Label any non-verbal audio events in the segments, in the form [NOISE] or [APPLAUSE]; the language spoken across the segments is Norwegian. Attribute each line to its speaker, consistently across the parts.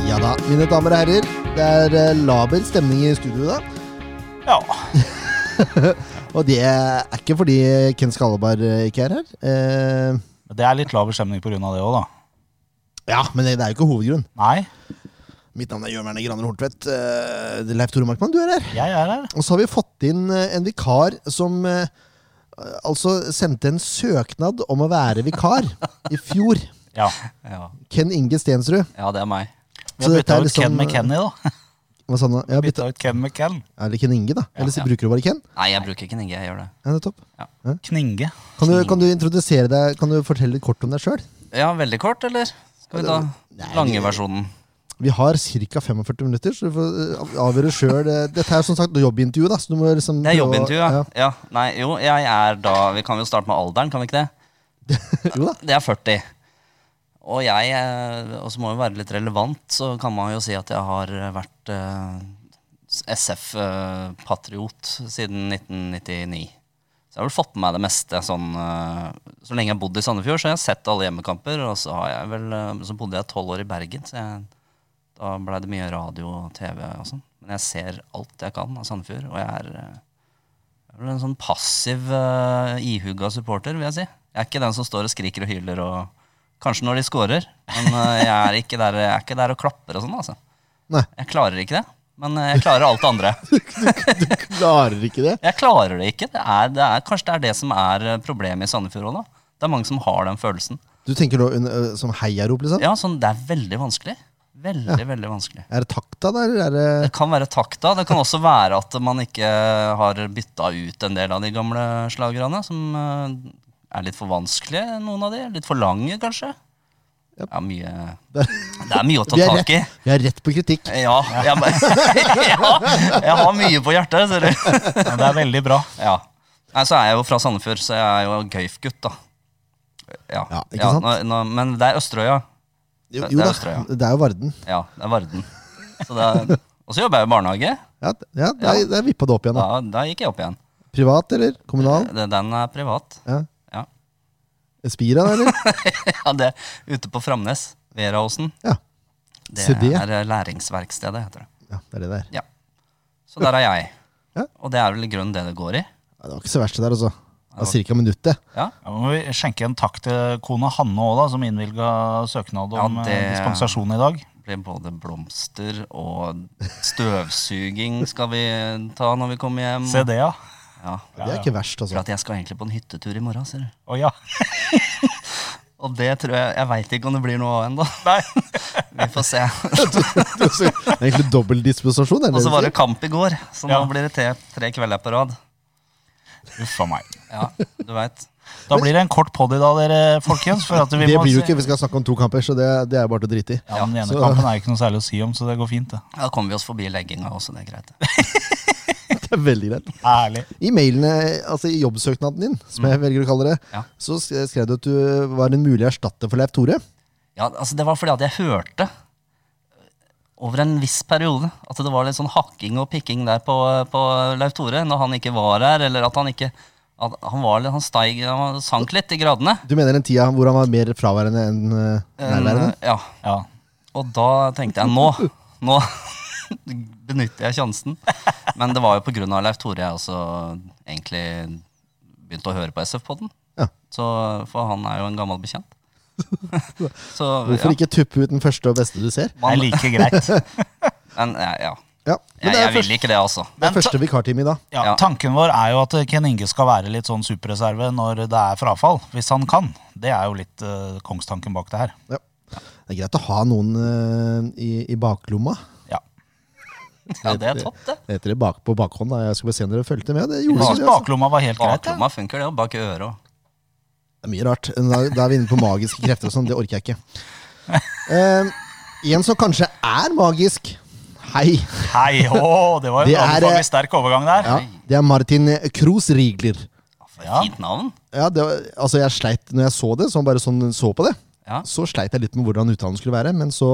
Speaker 1: Mine damer og herrer, det er eh, laber stemning i studio i dag.
Speaker 2: Ja.
Speaker 1: Og det er ikke fordi Ken Skalleberg eh, ikke er her. Eh,
Speaker 2: Det er litt laber stemning pga. det òg, da.
Speaker 1: ja, Men det er jo ikke hovedgrunn.
Speaker 2: Nei,
Speaker 1: Mitt navn er Jørn Werner Graner Horntvedt. Eh, Leif Tore Markmann, du er her.
Speaker 2: jeg er her.
Speaker 1: Og så har vi fått inn eh, en vikar som eh, altså sendte en søknad om å være vikar i fjor.
Speaker 2: Ja.
Speaker 3: Ja,
Speaker 1: Ken Inge Stensrud.
Speaker 3: ja det er meg.
Speaker 2: Vi
Speaker 1: Så
Speaker 2: har
Speaker 1: dette
Speaker 2: bytta
Speaker 1: er
Speaker 2: ut
Speaker 1: liksom-
Speaker 2: Ken med Kenny, da.
Speaker 1: Hva sa han da? Ja, bytte.
Speaker 2: Bytta ut Ken med Ken.
Speaker 1: Eller Ken Inge, da. Eller så
Speaker 3: ja.
Speaker 1: bruker du bare Ken?
Speaker 3: Nei, jeg bruker ikke Ninja, jeg gjør det.
Speaker 1: Ja, nettopp.
Speaker 2: Kninge.
Speaker 1: Kan du, kan du introdusere deg, kan du fortelle litt kort om deg sjøl?
Speaker 3: Ja, veldig kort, eller? Skal vi ta
Speaker 1: Nei, vi-
Speaker 3: lange versjonen?
Speaker 1: Vi har ca. 45 minutter, så du får eh, avgjøre sjøl. Dette er som sagt jobbintervju, da. Så du må liksom
Speaker 3: Det
Speaker 1: prøve
Speaker 3: er
Speaker 1: å-
Speaker 3: jobbintervju, ja. ja. Nei, jo, jeg er da Vi kan jo starte med alderen, kan vi ikke det?
Speaker 1: ja. Jo da.
Speaker 3: Det er 40. Og jeg eh, Og så må jo være litt relevant, så kan man jo si at jeg har eh, vært SF-patriot eh, siden 1999. Så jeg har vel fått med meg det meste sånn eh, Så lenge jeg har bodd i Sandefjord, så har jeg sett alle hjemmekamper. Og så, har jeg vel, eh, så bodde jeg tolv år i Bergen, så jeg, da blei det mye radio og TV og sånn. Men jeg ser alt jeg kan av Sandefjord, og jeg er eh, jeg er vel en sånn passiv, uh, ihuga supporter, vil jeg si. Jeg er ikke den som står og skriker og hyler og Kanskje når de scorer, men eh, jeg, er ikke der, jeg er ikke der og klapper og sånn, altså.
Speaker 1: Nei.
Speaker 3: Jeg klarer ikke det. Men eh, jeg klarer alt det andre.
Speaker 1: Klarer ikke det.
Speaker 3: Jeg klarer det ikke. Det er, det er, kanskje det er det som er eh, problemet i Sandefjord òg, da. Det er mange som har den følelsen.
Speaker 1: Du tenker nå eh, som heiarop, liksom?
Speaker 3: Ja, sånn, Det er veldig vanskelig. Veldig, veldig vanskelig.
Speaker 1: Er det takta, da? Eller er det
Speaker 3: Det kan være takta. Det kan også være at man ikke har bytta ut en del av de gamle slagerne, som eh, er litt for vanskelige, noen av de. Litt for lange, kanskje.
Speaker 1: Japp.
Speaker 3: Ja, mye,
Speaker 1: [LAUGHS] Der.
Speaker 3: det er mye å ta
Speaker 1: Vi er
Speaker 3: tak i.
Speaker 1: rett, vi er rett på kritikk.
Speaker 3: Ja, jeg, [LAUGHS] ja, jeg har mye på hjertet, ser du.
Speaker 2: Men det er veldig bra.
Speaker 3: Ja. Nei, så er jeg jo fra Sandefjord, så jeg er jo Gøyf-gutt, da. Ja,
Speaker 1: Ja, ikke sant?
Speaker 3: nå, nå, Men det er Østerøya.
Speaker 1: Jo,
Speaker 3: Det-
Speaker 1: jo
Speaker 3: det er
Speaker 1: da,
Speaker 3: Østerøya.
Speaker 1: det er jo Varden.
Speaker 3: Ja, det er Varden. Så det er, og så jobber jeg i barnehage.
Speaker 1: Ja, d- ja der,
Speaker 3: Ja.
Speaker 1: der vippa det opp igjen.
Speaker 3: Da,
Speaker 1: Da.
Speaker 3: da gikk jeg opp igjen.
Speaker 1: Privat eller kommunal?
Speaker 3: Det- Den er privat.
Speaker 1: Ja.
Speaker 3: Ja,
Speaker 1: Espira, eller?
Speaker 3: ja det Ute på Framnes, Veraåsen.
Speaker 1: Ja.
Speaker 3: Det
Speaker 1: Se det.
Speaker 3: er eh, læringsverkstedet, heter det.
Speaker 1: Ja, det er det der.
Speaker 3: Ja. Så der er jeg.
Speaker 1: Ja.
Speaker 3: Og det er vel i grunnen det det går i.
Speaker 1: Ja, det var ikke så verst, det der, altså. Det var ca. minuttet.
Speaker 3: Ja,
Speaker 2: Ja, må vi skjenke en takk til kona Hanne òg, da, som innvilga søknad om
Speaker 3: Ja,
Speaker 2: eh,
Speaker 3: det-
Speaker 2: dispensasjon i dag.
Speaker 3: blir både blomster og støvsuging skal vi ta når vi kommer hjem.
Speaker 2: Se det, ja.
Speaker 3: Ja.
Speaker 1: Det er ikke verst,
Speaker 3: For
Speaker 1: altså.
Speaker 3: at jeg skal egentlig på en hyttetur i morgen, ser du.
Speaker 2: Å ja.
Speaker 3: Og det tror jeg Jeg veit ikke om det blir noe av ennå. Vi får se.
Speaker 1: [LAUGHS] Det er egentlig dobbel dispensasjon,
Speaker 3: Og
Speaker 1: eller?
Speaker 3: så var det kamp i går, så nå
Speaker 2: Ja.
Speaker 3: blir det te, tre kvelder på rad.
Speaker 2: Uff a meg.
Speaker 3: Ja, du veit.
Speaker 2: Da blir det en kort pod i dag, dere folkens. For at vi
Speaker 1: Det
Speaker 2: må
Speaker 1: blir jo
Speaker 2: se-
Speaker 1: ikke, vi skal snakke om to kamper, så det, det er bare til å drite i.
Speaker 2: Ja, Den ene
Speaker 1: Så-
Speaker 2: kampen er ikke noe særlig å si om, så det går fint. det.
Speaker 3: Da kommer vi oss forbi legginga også, det er greit.
Speaker 1: [LAUGHS] Det er veldig greit.
Speaker 2: Ærlig.
Speaker 1: I mailene, altså i jobbsøknaden din, som jeg velger å kalle det,
Speaker 3: Ja.
Speaker 1: så sk- skrev du at du var en mulig erstatter for Leif Tore.
Speaker 3: Ja, altså Det var fordi at jeg hørte over en viss periode at det var litt sånn hakking og pikking der på, på Leif Tore når han ikke var her, eller at han ikke at han, var litt, han, steig, han sank litt i gradene.
Speaker 1: Du mener den tida hvor han var mer fraværende enn eh, nærværende?
Speaker 3: ja,
Speaker 2: Ja.
Speaker 3: Og da tenkte jeg nå, nå [LAUGHS] benytter jeg sjansen. Men det var jo pga. Leif Tore jeg også egentlig begynte å høre på SF-podden.
Speaker 1: Ja.
Speaker 3: Så, for han er jo en gammel
Speaker 1: [LAUGHS]
Speaker 3: bekjent. [LAUGHS] Så,
Speaker 1: Hvorfor ikke tuppe ut den første og beste du ser?
Speaker 2: Det er like greit.
Speaker 3: Men, ja, ja.
Speaker 1: Ja, men
Speaker 3: Jeg,
Speaker 1: det er
Speaker 3: jeg
Speaker 1: første,
Speaker 3: vil ikke det, altså.
Speaker 1: det er
Speaker 2: Men ta-
Speaker 1: første vikartime i dag.
Speaker 2: Ja,
Speaker 3: Ja.
Speaker 2: Tanken vår er jo at Ken Inge skal være litt sånn superreserve når det er frafall, hvis han kan. Det er jo litt eh, kongstanken bak det her.
Speaker 1: Ja. Det er greit å ha noen eh, i, i baklomma.
Speaker 2: Ja.
Speaker 3: Ja, det er topp, det.
Speaker 1: Det heter det bak, på bakhånd. da. Jeg skal bare se om dere fulgte med. Det gjorde
Speaker 2: Jeg
Speaker 1: dere,
Speaker 2: synes
Speaker 1: altså.
Speaker 2: baklomma var helt greit. jeg.
Speaker 3: Baklomma funker, det, og bak øret òg.
Speaker 1: Det er mye rart. Da, da er vi inne på magiske krefter og sånn. Det orker jeg ikke. Eh, en som kanskje er magisk. Hei.
Speaker 2: [LAUGHS] Hei, å, det var
Speaker 1: Det
Speaker 2: jo
Speaker 1: er,
Speaker 2: en
Speaker 1: eh,
Speaker 2: anbefalt sterk overgang der.
Speaker 1: Ja, det er Martin Kroos-Riegler.
Speaker 2: Ja.
Speaker 3: Fint navn.
Speaker 1: Ja, det var, altså jeg sleit når jeg så det, sånn bare sånn så på det.
Speaker 3: Ja.
Speaker 1: Så sleit jeg litt med hvordan uttalen skulle være, men så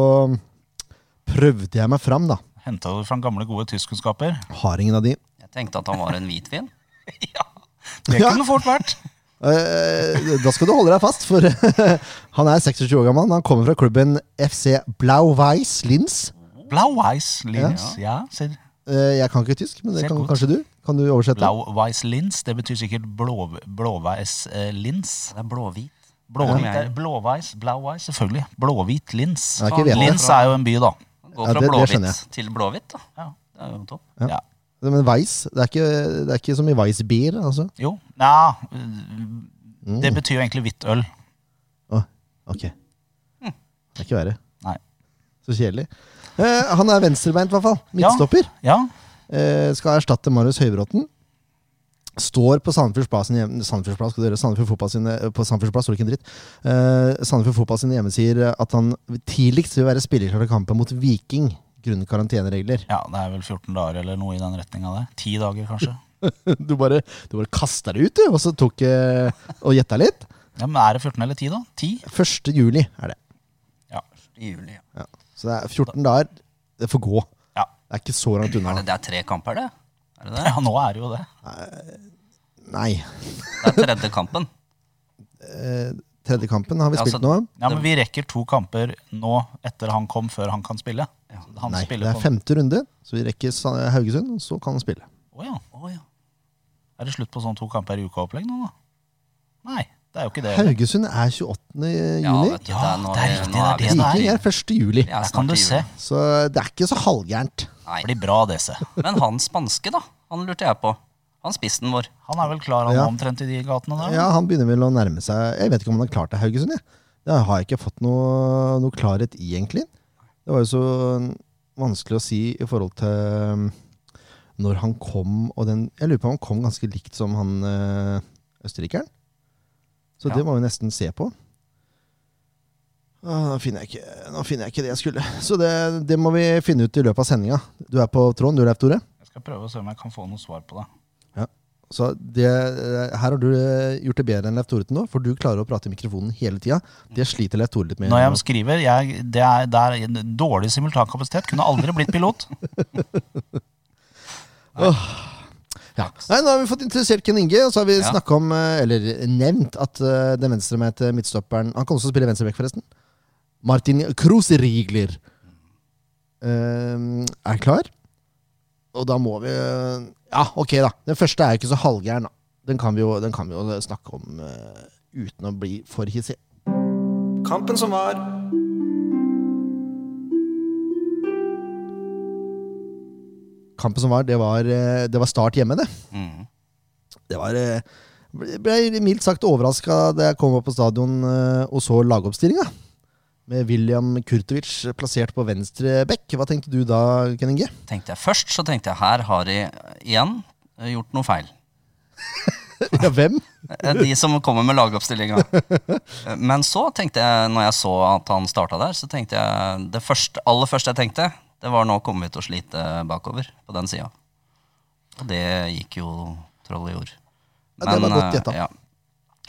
Speaker 1: prøvde jeg meg fram, da.
Speaker 2: Henta du fra gamle, gode tyskkunnskaper?
Speaker 1: Har ingen av de.
Speaker 3: Jeg tenkte at han var en hvitvin.
Speaker 2: Ja. Det
Speaker 1: Ja.
Speaker 2: kunne fort vært.
Speaker 1: Eh, da skal du holde deg fast, for [LAUGHS] han er 26 år gammel. Han kommer fra klubben FC Blau-Weiss Linz.
Speaker 2: Blauweiss Lins. Ja, sier
Speaker 1: Eh, Jeg kan ikke tysk, men det
Speaker 2: Ser
Speaker 1: kan
Speaker 2: godt.
Speaker 1: kanskje du? Kan du oversette?
Speaker 2: Blauweiss Lins. Det betyr sikkert blå, blåveis eh, lins.
Speaker 3: Det er blåhvit.
Speaker 2: Blåhvit,
Speaker 3: Ja.
Speaker 2: er- blåveis, blauveis, selvfølgelig. Blåhvit lins.
Speaker 1: Jeg ikke vet det.
Speaker 2: Lins er jo en by, da.
Speaker 3: Han går
Speaker 1: Ja,
Speaker 3: fra
Speaker 1: det- det skjønner
Speaker 3: blåhvitt til blåhvitt, da.
Speaker 2: Ja.
Speaker 3: Det er jo topp.
Speaker 1: Ja.
Speaker 2: Ja.
Speaker 1: Men Weiss, det er ikke, det er ikke som i Weissbier, altså?
Speaker 2: Jo. Nja
Speaker 1: Mm.
Speaker 2: øh, Det betyr jo egentlig hvitt øl.
Speaker 1: Å, ok. Det er ikke verre.
Speaker 2: Nei.
Speaker 1: Så kjedelig. Eh, han er venstrebeint, i hvert fall.
Speaker 2: Ja.
Speaker 1: Midtstopper.
Speaker 2: Ja.
Speaker 1: Eh, skal erstatte Marius Høybråten. Står på Sandefjords Blad sin hjem- Sandefjords Blad, skal du gjøre. Sandefjord Fotball sine, eh, på Sandefjords Blad står det ikke en dritt. Eh, Sandefjord Fotball sine hjemmesider eh, at han tidligst vil være spillerklar til kampen mot Viking grunnet karanteneregler. [LAUGHS]
Speaker 2: ja, det er vel 14 dager eller noe i den retninga der. Ti dager, kanskje.
Speaker 1: Du bare, du bare kasta det ut, du, og så tok eh, og gjetta litt.
Speaker 2: Ja, Men er det 14 eller 10, da? 10?
Speaker 1: 1. juli er det.
Speaker 2: Ja.
Speaker 3: I juli, ja.
Speaker 1: Ja. Så det er 14 dager. Det får gå.
Speaker 2: Ja.
Speaker 1: Det er ikke så langt unna.
Speaker 3: Er det, det er tre kamper, det? Er det det?
Speaker 2: ja, nå er det jo det.
Speaker 1: Nei.
Speaker 3: Det er tredje kampen.
Speaker 1: Eh, tredje kampen har vi
Speaker 3: Ja,
Speaker 1: spilt
Speaker 3: så-
Speaker 1: nå.
Speaker 2: Ja, Men vi rekker to kamper nå etter han kom, før han kan spille.
Speaker 3: Ja.
Speaker 2: Så Han
Speaker 1: Nei, det
Speaker 2: spiller
Speaker 1: er
Speaker 2: på
Speaker 1: femte runde, så vi rekker Sa- Haugesund, og så kan han spille.
Speaker 2: Å ja.
Speaker 3: Å, ja.
Speaker 2: Er det slutt på sånn to kamper i uka-opplegg nå, da? Nei, det er jo ikke det.
Speaker 1: Haugesund er 28.
Speaker 3: ja,
Speaker 1: juni.
Speaker 3: vet du,
Speaker 2: Ja,
Speaker 3: det er, nå,
Speaker 2: det er
Speaker 3: vi-
Speaker 2: riktig, det
Speaker 3: nå
Speaker 2: er
Speaker 3: vi
Speaker 2: det
Speaker 1: Viking
Speaker 3: snart i-
Speaker 1: er 1. juli.
Speaker 3: Ja,
Speaker 2: Der
Speaker 3: snart
Speaker 2: kan
Speaker 3: i
Speaker 2: du
Speaker 3: juli.
Speaker 2: se.
Speaker 1: Så det er ikke så halvgærent.
Speaker 2: Det
Speaker 3: Nei.
Speaker 2: blir bra, DC.
Speaker 3: Men han spanske, da. Han lurte jeg på. Han spissen vår.
Speaker 2: Han er vel klar han
Speaker 1: Ja.
Speaker 2: omtrent i de gatene der?
Speaker 1: Ja, han begynner vel å nærme seg Jeg vet ikke om han har klart det, Haugesund. jeg. Det har jeg ikke fått noe, noe klarhet i, egentlig. Det var jo så vanskelig å si i forhold til um, når han kom og den Jeg lurer på om han kom ganske likt som han eh, østerrikeren. Så
Speaker 3: Ja.
Speaker 1: det må vi nesten se på. Ah, Nå finner, jeg ikke, nå finner jeg ikke det jeg skulle. Så det, det må vi finne ut i løpet av sendinga. Du er på tråden, du Leif Tore.
Speaker 2: Jeg skal prøve å se om jeg kan få noe svar på det.
Speaker 1: Så det, eh, her har du eh, gjort det bedre enn Leif Tore til nå, for du klarer å prate i mikrofonen hele tida. Det sliter Leif Tore litt med.
Speaker 2: Når jeg skriver jeg, det, er, det er en dårlig simultankapasitet. Kunne aldri blitt
Speaker 3: [LAUGHS]
Speaker 2: pilot.
Speaker 1: Ja. Nei, nå har vi fått interessert Ken Inge, og så har vi
Speaker 3: Ja.
Speaker 1: snakket om, eh, eller nevnt, at eh, den venstremente midtstopperen Han kan også spille venstreback, forresten. Martin Krusrigler uh, er klar. Og da må vi eh, Ja, ok, da. Den første er jo ikke så halvgæren, da. Den kan vi jo, den kan vi jo snakke om eh, uten å bli for hissig.
Speaker 4: Kampen som var.
Speaker 1: kampen som var, det var, eh, det var start hjemme, det.
Speaker 3: Mhm.
Speaker 1: Det var eh, ble- Ble mildt sagt overraska da jeg kom opp på stadion eh, og så lagoppstillinga. Med William Kurtovic plassert på venstre bekk. Hva tenkte du da, Ken Inge? [LAUGHS]
Speaker 3: Tenkte jeg Først så tenkte jeg her har de eh, igjen eh, gjort noe feil.
Speaker 1: Ja, hvem?
Speaker 3: Eh, De som kommer med lagoppstillinga. Eh, Men så tenkte jeg, når jeg så at han starta der, så tenkte jeg Det første, aller første jeg tenkte, det var nå kommer vi til å slite bakover på den sida. Og det gikk jo troll i jord.
Speaker 1: Ja, det var godt
Speaker 3: eh,
Speaker 1: gjetta.
Speaker 3: ja.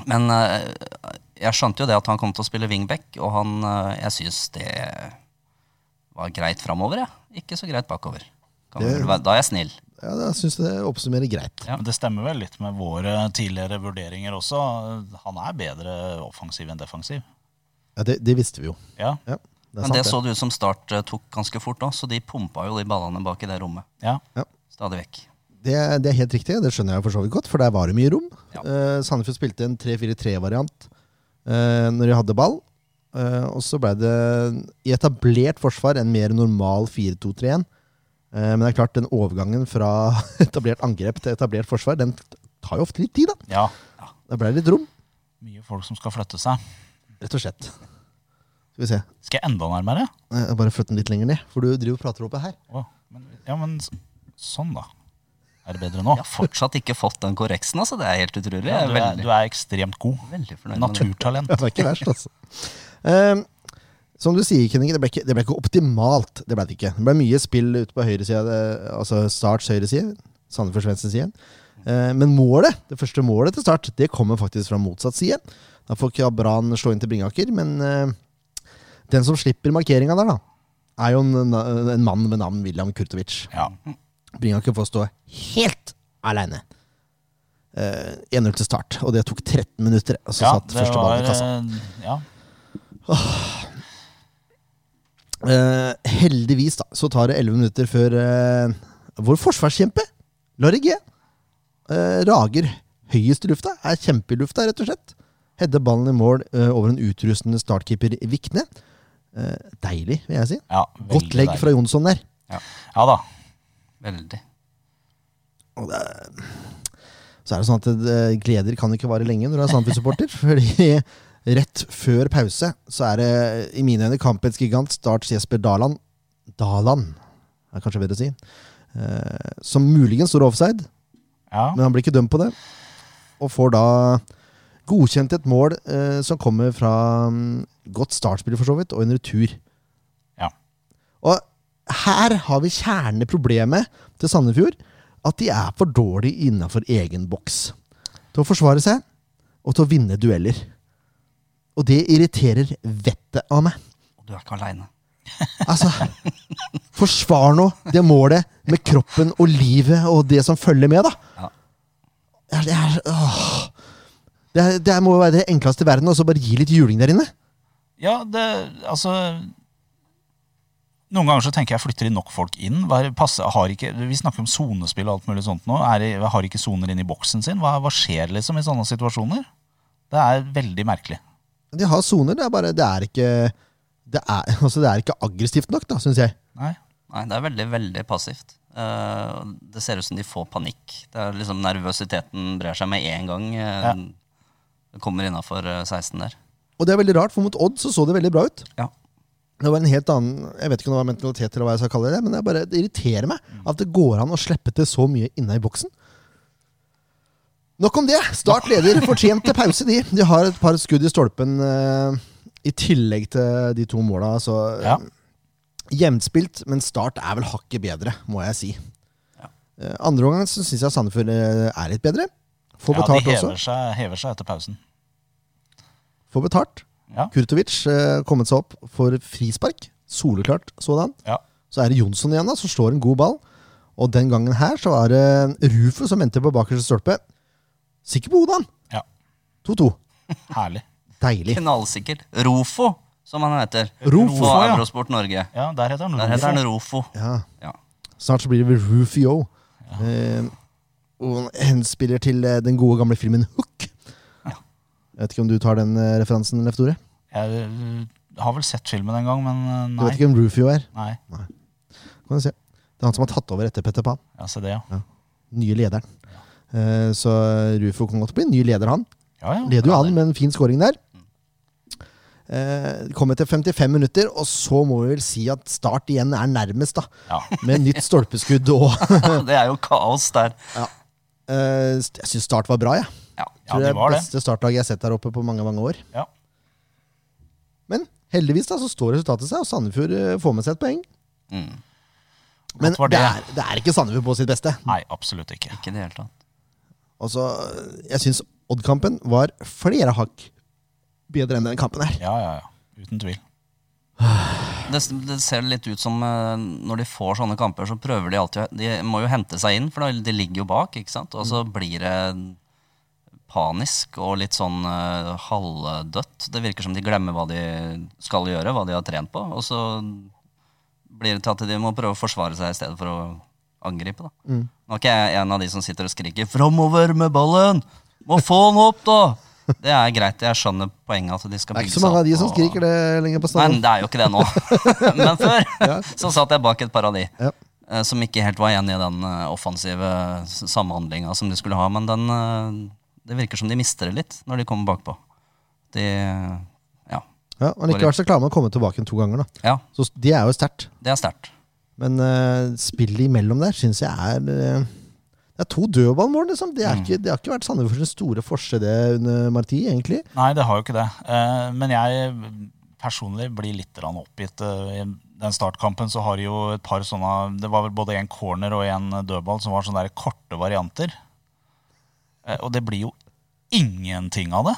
Speaker 3: Men eh, jeg skjønte jo det at han kom til å spille wingback, og han eh, Jeg syns det var greit framover, jeg. Ikke så greit bakover. Kan
Speaker 1: Det-
Speaker 3: vel være- Da er jeg snill.
Speaker 1: Ja, Jeg syns det oppsummerer greit.
Speaker 2: Men Det stemmer vel litt med våre tidligere vurderinger også. Han er bedre offensiv enn defensiv.
Speaker 1: Ja, Det, det visste vi jo.
Speaker 2: Ja,
Speaker 1: Ja, det er
Speaker 3: Men det
Speaker 1: sant,
Speaker 3: så det ut som Start eh, tok ganske fort òg, så de pumpa jo de ballene bak i det rommet.
Speaker 2: ja.
Speaker 3: Stadig vekk.
Speaker 1: Det, det er helt riktig, det skjønner jeg for så vidt godt, for der var det mye rom.
Speaker 3: Ja.
Speaker 1: Eh, Sandefjord spilte en 3-4-3-variant eh, når de hadde ball. Eh, og så ble det i etablert forsvar en mer normal 4-2-3-1. Eh, men det er klart, den overgangen fra [LAUGHS] etablert angrep til etablert forsvar, den tar jo ofte litt tid, da.
Speaker 2: ja.
Speaker 1: Da ble det litt rom,
Speaker 2: Mye folk som skal flytte seg.
Speaker 1: rett og slett. Skal vi se.
Speaker 2: Skal jeg enda nærmere?
Speaker 1: Eh, Jeg bare flytte den litt lenger ned, for du driver og prater oppe her.
Speaker 2: Å, men, ja, men s- sånn, da. Er det bedre nå?
Speaker 3: Jeg har fortsatt ikke fått den korreksen, altså. Det er helt utrolig. Jeg er
Speaker 2: du, er,
Speaker 3: veldig,
Speaker 2: du er ekstremt god.
Speaker 3: veldig fornøyd med
Speaker 1: [LAUGHS]
Speaker 3: det.
Speaker 2: Naturtalent.
Speaker 1: Ja, det er ikke verst, altså. Ehm, som du sier, Kenninge, det ble ikke, det ble ikke optimalt. Det ble det ikke. Det ble mye spill ute på høyresida, det- altså Starts høyreside. Sandefjords venstre side. Eh, men målet, det første målet til Start, det kommer faktisk fra motsatt side. Da får Kabran slå inn til Bringaker, men eh, den som slipper markeringa der, da, er jo en, en mann med navn William Kurtovic.
Speaker 2: Ja.
Speaker 1: Bringaker får stå helt aleine. Eh, 1-0 til Start, og det tok 13 minutter. altså Og så
Speaker 2: ja, eh,
Speaker 1: satt første ballen i kassa.
Speaker 2: eh, ja.
Speaker 1: Eh, heldigvis da, så tar det 11 minutter før eh, vår forsvarskjempe, Larry G, eh, rager høyest i lufta. Er kjempe i lufta, rett og slett. Hedder ballen i mål eh, over en utrustende startkeeper Vikne. Eh, deilig, vil jeg si.
Speaker 2: Ja,
Speaker 1: Godt legg
Speaker 2: deilig.
Speaker 1: fra Jonsson der.
Speaker 2: Ja da.
Speaker 3: Veldig.
Speaker 1: Og det, er- så er det sånn at det, gleder kan ikke vare lenge når du er Sandefjord-supporter. [LAUGHS] fordi rett før pause så er det i mine øyne kampens gigant Starts Jesper Daland. Daland, er kanskje bedre å si. Eh, som muligens står offside,
Speaker 2: Ja.
Speaker 1: men han blir ikke dømt på det. Og får da godkjent et mål eh, som kommer fra mm, godt startspill, for så vidt, og en retur.
Speaker 2: Ja.
Speaker 1: Og her har vi kjerneproblemet til Sandefjord. At de er for dårlige innafor egen boks. Til å forsvare seg og til å vinne dueller. Og det irriterer vettet av meg.
Speaker 3: Og du er ikke aleine.
Speaker 1: Altså, forsvar nå det målet med kroppen og livet og det som følger med, da.
Speaker 3: Ja.
Speaker 1: Det er, det er, åh. Det, er, det er- må jo være det enkleste i verden, og så bare gi litt juling der inne.
Speaker 2: ja, det Altså Noen ganger så tenker jeg flytter de nok folk inn? Hva er- passer- har ikke, vi snakker om sonespill og alt mulig sånt nå. Er, de- har ikke soner inn i boksen sin? Hva, hva skjer liksom i sånne situasjoner? Det er veldig merkelig.
Speaker 1: De har soner, det er bare Det er ikke det er, [LAUGHS] altså det er ikke aggressivt nok, da, syns jeg.
Speaker 2: Nei.
Speaker 3: Nei, det er veldig, veldig passivt. Eh, det ser ut som de får panikk. Det er liksom Nervøsiteten brer seg med en gang. eh,
Speaker 2: Ja.
Speaker 3: Det kommer innafor 16 der.
Speaker 1: Og det er veldig rart, for mot Odd så så det veldig bra ut.
Speaker 3: Ja.
Speaker 1: Det var en helt annen Jeg vet ikke om det var mentalitet, eller hva jeg skal kalle det, men det, er bare, det irriterer meg at det går an å slippe til så mye inne i boksen. Nok om det. Start leder fortjent til pause, de. De har et par skudd i stolpen eh, i tillegg til de to måla. Så eh,
Speaker 2: Ja.
Speaker 1: jevnspilt, men Start er vel hakket bedre, må jeg si. Eh, Andre omgang så syns jeg Sandefjord eh, er litt bedre. Får
Speaker 2: Ja,
Speaker 1: betalt
Speaker 2: de
Speaker 1: også.
Speaker 2: hever seg, hever seg etter pausen.
Speaker 1: Får betalt.
Speaker 2: Ja.
Speaker 1: Kurtovic eh, kommet seg opp for frispark. Soleklart sådan.
Speaker 2: Ja.
Speaker 1: Så er det Jonsson igjen, da, som slår en god ball. Og den gangen her så er det Rufus som endte på bakerste stolpe. Sikker på hodet, han!
Speaker 2: ja.
Speaker 1: 2-2.
Speaker 2: Herlig.
Speaker 1: Deilig.
Speaker 3: Knallsikker. Rofo, som han heter.
Speaker 1: Rofo,
Speaker 3: På
Speaker 2: ja.
Speaker 3: Eurosport Norge.
Speaker 2: Ja, der heter han
Speaker 3: Der heter han
Speaker 2: Rufo.
Speaker 3: Rofo.
Speaker 1: Ja.
Speaker 3: Ja. [LAUGHS]
Speaker 1: Snart så blir det vel Rufio. Eh, og han henspiller til eh, den gode gamle filmen Hook. Jeg vet ikke om du tar den eh, referansen, Leif Tore?
Speaker 2: Jeg uh, har vel sett filmen en gang, men uh,
Speaker 1: Du vet
Speaker 2: nei.
Speaker 1: ikke hvem Rufio er?
Speaker 2: nei.
Speaker 1: Kan du se. Det er han som har tatt over etter Petter Pan.
Speaker 2: Ja, se det, ja.
Speaker 1: Nye lederen. Eh, så Rufo kan godt bli ny leder, han.
Speaker 2: Ja, ja.
Speaker 1: Leder jo an med en fin scoring der. Eh, kommer til 55 minutter, og så må vi vel si at Start igjen er nærmest, da.
Speaker 2: Ja.
Speaker 1: Med nytt stolpeskudd og [LAUGHS]
Speaker 3: Det er jo kaos der.
Speaker 1: eh, st- Jeg syns Start var bra, jeg.
Speaker 3: Ja.
Speaker 2: ja,
Speaker 1: Tror det
Speaker 2: det
Speaker 1: er
Speaker 2: var det.
Speaker 1: beste startlaget jeg har sett der oppe på mange, mange år.
Speaker 2: Ja.
Speaker 1: Men heldigvis da, så står resultatet seg, og Sandefjord eh, får med seg et poeng.
Speaker 3: Mm.
Speaker 1: Men
Speaker 2: var
Speaker 1: det
Speaker 2: det.
Speaker 1: er, det er ikke Sandefjord på sitt beste.
Speaker 2: Nei, absolutt ikke.
Speaker 3: Ikke i det hele tatt.
Speaker 1: Og så, eh, jeg syns Odd-kampen var flere hakk bedre enn den kampen her.
Speaker 2: Ja, ja, ja. Uten tvil.
Speaker 3: Det, det ser litt ut som eh, når de får sånne kamper, så prøver de alltid De må jo hente seg inn, for da- de ligger jo bak, ikke sant? Og
Speaker 1: Mm.
Speaker 3: så blir det panisk og litt sånn eh, halvdødt. Det virker som de glemmer hva de skal gjøre, hva de har trent på. Og så blir det til at de må prøve å forsvare seg i stedet for å angripe, da.
Speaker 1: Mm.
Speaker 3: Nå er ikke jeg en av de som sitter og skriker 'framover med ballen'! Må få den opp, da! Det er greit, jeg skjønner poenget. at de skal
Speaker 1: Det er ikke
Speaker 3: bygge
Speaker 1: så mange av de
Speaker 3: seg
Speaker 1: som
Speaker 3: opp og-
Speaker 1: skriker det lenger på
Speaker 3: Nei, men
Speaker 1: stadion.
Speaker 3: det er jo
Speaker 1: [LAUGHS]
Speaker 3: ikke det nå. men før så satt jeg bak et par av de.
Speaker 1: Ja.
Speaker 3: eh, Som ikke helt var enig i den eh, offensive s- samhandlinga som de skulle ha. Men den, eh, det virker som de mister det litt når de kommer bakpå. De, ja.
Speaker 1: Ja, og likevel så klarer man å komme tilbake igjen to ganger, da.
Speaker 3: ja,
Speaker 1: Så s- det er jo sterkt.
Speaker 3: det er sterkt.
Speaker 1: Men eh, spillet imellom der syns jeg er eh, Det er to dødballmål, liksom. Det, er
Speaker 2: Mm.
Speaker 1: ikke, det har ikke vært Sandefjords store forskjell det under Marti, egentlig.
Speaker 2: Nei, det har jo ikke det. Eh, Men jeg personlig blir litt grann oppgitt. Eh, I den startkampen så har de jo et par sånne Det var vel både en corner og en dødball som var sånne der korte varianter. Eh, Og det blir jo ingenting av det.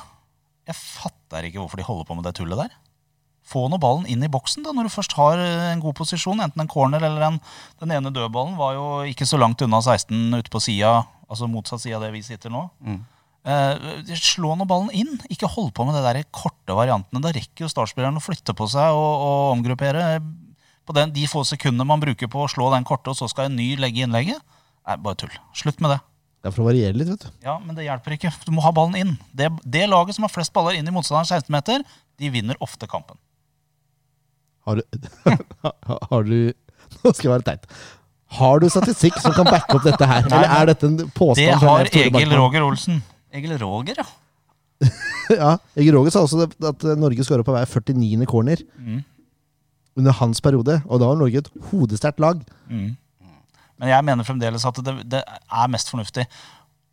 Speaker 2: Jeg fatter ikke hvorfor de holder på med det tullet der. Få nå ballen inn i boksen da, når du først har eh, en god posisjon. Enten en corner eller en Den ene dødballen var jo ikke så langt unna 16 ute på sida, altså motsatt side av det vi sitter nå. Eh, slå nå ballen inn. Ikke hold på med det der korte variantene. Da rekker jo startspilleren å flytte på seg og, og omgruppere. på den, de få sekundene man bruker på å slå den korte, og så skal en ny legge innlegget. Nei, bare tull. Slutt med det.
Speaker 1: Det er for å variere litt, vet du.
Speaker 2: Ja, men det hjelper ikke. Du må ha ballen inn. Det, det laget som har flest baller inn i motstanderens 16-meter, de vinner ofte kampen.
Speaker 1: Har du, [LAUGHS] har du [LAUGHS] Nå skal jeg være teit. Har du statistikk som kan backe opp dette her? Eller er dette en påstand?
Speaker 2: Det
Speaker 1: fra
Speaker 2: har
Speaker 1: Leif Tore
Speaker 2: Egil
Speaker 1: Bakkman?
Speaker 2: Roger Olsen.
Speaker 3: Egil Roger, ja.
Speaker 1: Ja, Egil Roger sa også det, at eh, Norge skåra på hver 49. corner
Speaker 2: Mm.
Speaker 1: under hans periode. Og da var Norge et hodesterkt lag.
Speaker 2: Men jeg mener fremdeles at det, det er mest fornuftig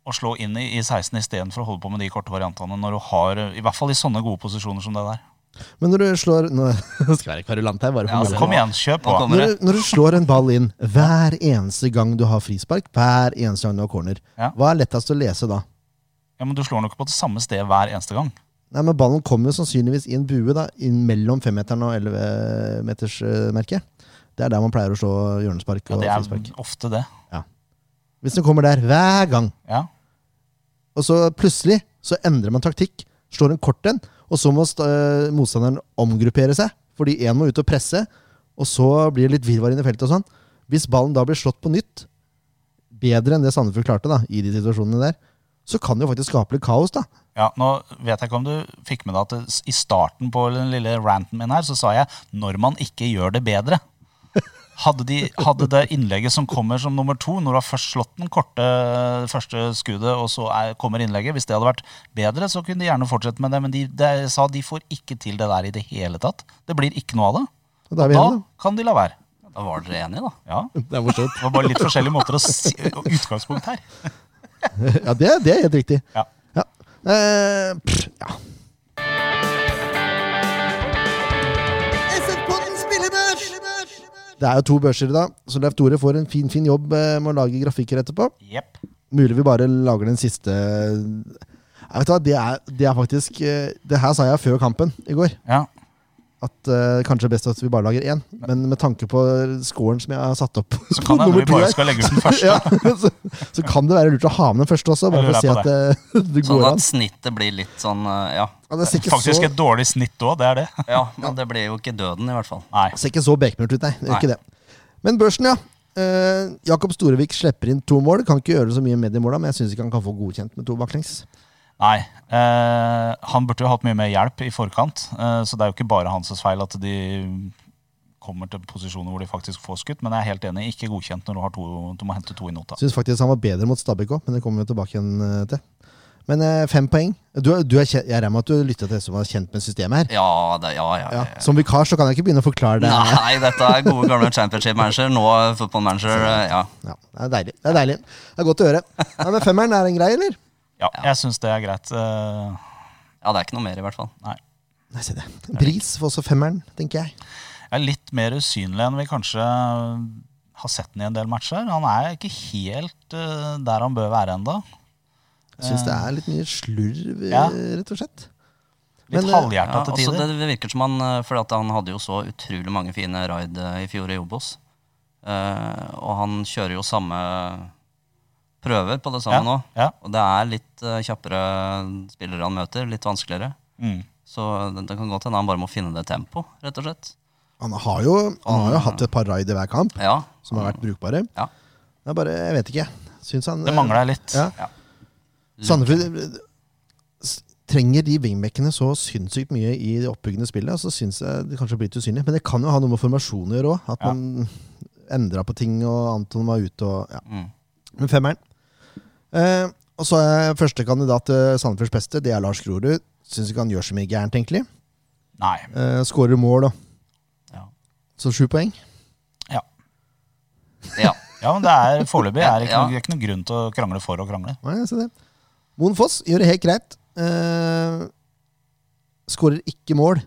Speaker 2: å slå inn i, i 16 istedenfor å holde på med de korte variantene når du har I hvert fall i sånne gode posisjoner som det der.
Speaker 1: Men når du slår Nå [LAUGHS] skal jeg være kverulant her. bare for
Speaker 3: Ja,
Speaker 1: moro.
Speaker 3: altså,
Speaker 2: Kom igjen, kjør på.
Speaker 3: Nå kommer
Speaker 1: når, du, når du slår en ball inn hver eneste gang du har frispark, hver eneste gang du har corner,
Speaker 2: Ja.
Speaker 1: hva er lettest å lese da?
Speaker 2: Ja, men du slår nok på det samme sted hver eneste gang.
Speaker 1: Nei, men Ballen kommer jo sannsynligvis i en bue da, inn mellom femmeteren og ellevemetersmerket. Det er der man pleier å slå hjørnespark
Speaker 2: Ja,
Speaker 1: og
Speaker 2: det er
Speaker 1: frispark.
Speaker 2: ofte det.
Speaker 1: Hvis den kommer der hver gang,
Speaker 2: Ja.
Speaker 1: og så plutselig så endrer man taktikk, slår en kort en, og så må st- øh, motstanderen omgruppere seg, fordi én må ut og presse, og så blir det litt virvar inn i feltet og sånn. Hvis ballen da blir slått på nytt, bedre enn det Sandefjord klarte da, i de situasjonene der, så kan det jo faktisk skape litt kaos, da.
Speaker 2: Ja, nå vet jeg ikke om du fikk med deg at det- i starten på den lille ranten min her, så sa jeg 'når man ikke gjør det bedre'. [LAUGHS] Hadde, de, hadde det innlegget som kommer som nummer to, når du har først slått den korte eh, første skuddet, og så er, kommer innlegget, hvis det hadde vært bedre, så kunne de gjerne fortsette med det. Men de, de sa de får ikke til det der i det hele tatt. Det blir ikke noe av det.
Speaker 1: Og da er vi
Speaker 2: Da
Speaker 1: igjen,
Speaker 2: kan de la være.
Speaker 3: Da var dere enige, da.
Speaker 2: Ja,
Speaker 1: da. Det er morsomt.
Speaker 2: det var bare litt forskjellige måter å si utgangspunkt her.
Speaker 1: [LAUGHS] Ja, det, det er helt riktig.
Speaker 2: Ja.
Speaker 1: Ja. Eh, pff, ja. Det er jo to børser i dag, så Leif Tore får en fin fin jobb eh, med å lage grafikker etterpå.
Speaker 2: Jepp.
Speaker 1: Mulig vi bare lager den siste Jeg vet hva, det er, det er faktisk eh, Det her sa jeg før kampen i går.
Speaker 2: Ja.
Speaker 1: At eh, Kanskje det er best at vi bare lager én. Men med tanke på scoren som jeg har satt opp
Speaker 2: Så kan det hende vi bare skal legge ut den første.
Speaker 1: ja, [LAUGHS] så, så kan det være lurt å ha med den første også.
Speaker 2: Jeg
Speaker 1: Bare for å se
Speaker 2: lurer
Speaker 1: at det, [LAUGHS] det
Speaker 3: Sånn
Speaker 1: går
Speaker 3: at
Speaker 1: an.
Speaker 3: snittet blir litt sånn eh, Ja,
Speaker 1: Ja, det ser ikke
Speaker 2: Faktisk
Speaker 1: så,
Speaker 2: et dårlig snitt òg, det er det.
Speaker 3: ja men det blir jo ikke døden, i hvert fall.
Speaker 2: Nei.
Speaker 1: ser ikke så bekmørkt ut, nei. Det gjør ikke det. Men børsen, ja. Eh, Jakob Storevik slipper inn to mål. Kan ikke gjøre så mye med de måla, men jeg syns ikke han kan få godkjent med to baklengs.
Speaker 2: Nei. Eh, han burde jo hatt mye mer hjelp i forkant, eh, så det er jo ikke bare hans feil at de kommer til posisjoner hvor de faktisk får skutt, men jeg er helt enig, ikke godkjent når du, har to, du må hente to i nota.
Speaker 1: Syns faktisk han var bedre mot Stabæk òg, men det kommer vi tilbake igjen eh, til. Men eh, fem poeng. Du, er- du er kjent, jeg regner med at du lytta til en som var kjent med systemet her.
Speaker 3: Ja, det, ja, ja,
Speaker 1: Ja,
Speaker 3: ja.
Speaker 1: som vikar så kan jeg ikke begynne å forklare det.
Speaker 3: Nei, dette er gode gamle championship-manager. Nå
Speaker 1: [LAUGHS]
Speaker 3: football-manager. eh, Ja.
Speaker 1: Ja, det er deilig. Det er deilig. Det er godt å høre. Ja, men femmeren er en grei, eller?
Speaker 2: Ja, jeg syns det er greit. Eh,
Speaker 3: ja, det er ikke noe mer, i hvert fall.
Speaker 2: nei.
Speaker 1: Nei, se det. Bris får også femmeren, tenker jeg.
Speaker 2: Jeg er litt mer usynlig enn vi kanskje har sett den i en del matcher. Han er ikke helt eh, der han bør være ennå.
Speaker 1: Jeg syns det er litt mye slurv, eh,
Speaker 2: Ja.
Speaker 1: rett og slett.
Speaker 2: Litt
Speaker 1: Men, eh,
Speaker 2: halvhjerta
Speaker 3: Ja,
Speaker 2: til
Speaker 3: også
Speaker 2: tider.
Speaker 3: det virker som han, eh, fordi at han hadde jo så utrolig mange fine raid eh, i fjor i Obos. Eh, og han kjører jo samme prøver på det samme nå.
Speaker 2: ja.
Speaker 3: Og det er litt eh, kjappere spillere han møter, litt vanskeligere.
Speaker 2: Mm.
Speaker 3: Så det, det kan godt hende han bare må finne det tempo, rett og slett.
Speaker 1: Han har jo, han har jo hatt et par raid i hver kamp
Speaker 3: Ja,
Speaker 1: som har vært brukbare.
Speaker 3: Ja.
Speaker 1: Det er bare, jeg vet ikke. Syns han
Speaker 2: Det mangler jeg litt.
Speaker 1: Ja.
Speaker 3: Mm.
Speaker 1: Sandefjord eh, s- trenger de wingbackene så sinnssykt mye i det oppbyggende spillet. Og så syns jeg det kanskje blir litt usynlig. Men det kan jo ha noe med formasjon å gjøre òg. At
Speaker 2: Ja.
Speaker 1: man endra på ting, og Anton var ute og ja.
Speaker 3: Mm.
Speaker 1: Men femmeren. Eh, og så er første kandidat til Sandefjords beste. Det er Lars Grorud. Syns ikke han gjør så mye gærent, egentlig.
Speaker 2: Nei.
Speaker 1: Eh, Skårer mål, da.
Speaker 3: Ja.
Speaker 1: Så sju poeng.
Speaker 2: Ja.
Speaker 3: ja.
Speaker 2: Ja, men det er foreløpig er det ikke,
Speaker 3: Ja.
Speaker 2: noe, det er ikke noe grunn til å krangle for å krangle.
Speaker 1: Nei, jeg ser det. Moen Foss gjør det helt greit. Eh, Skårer ikke mål.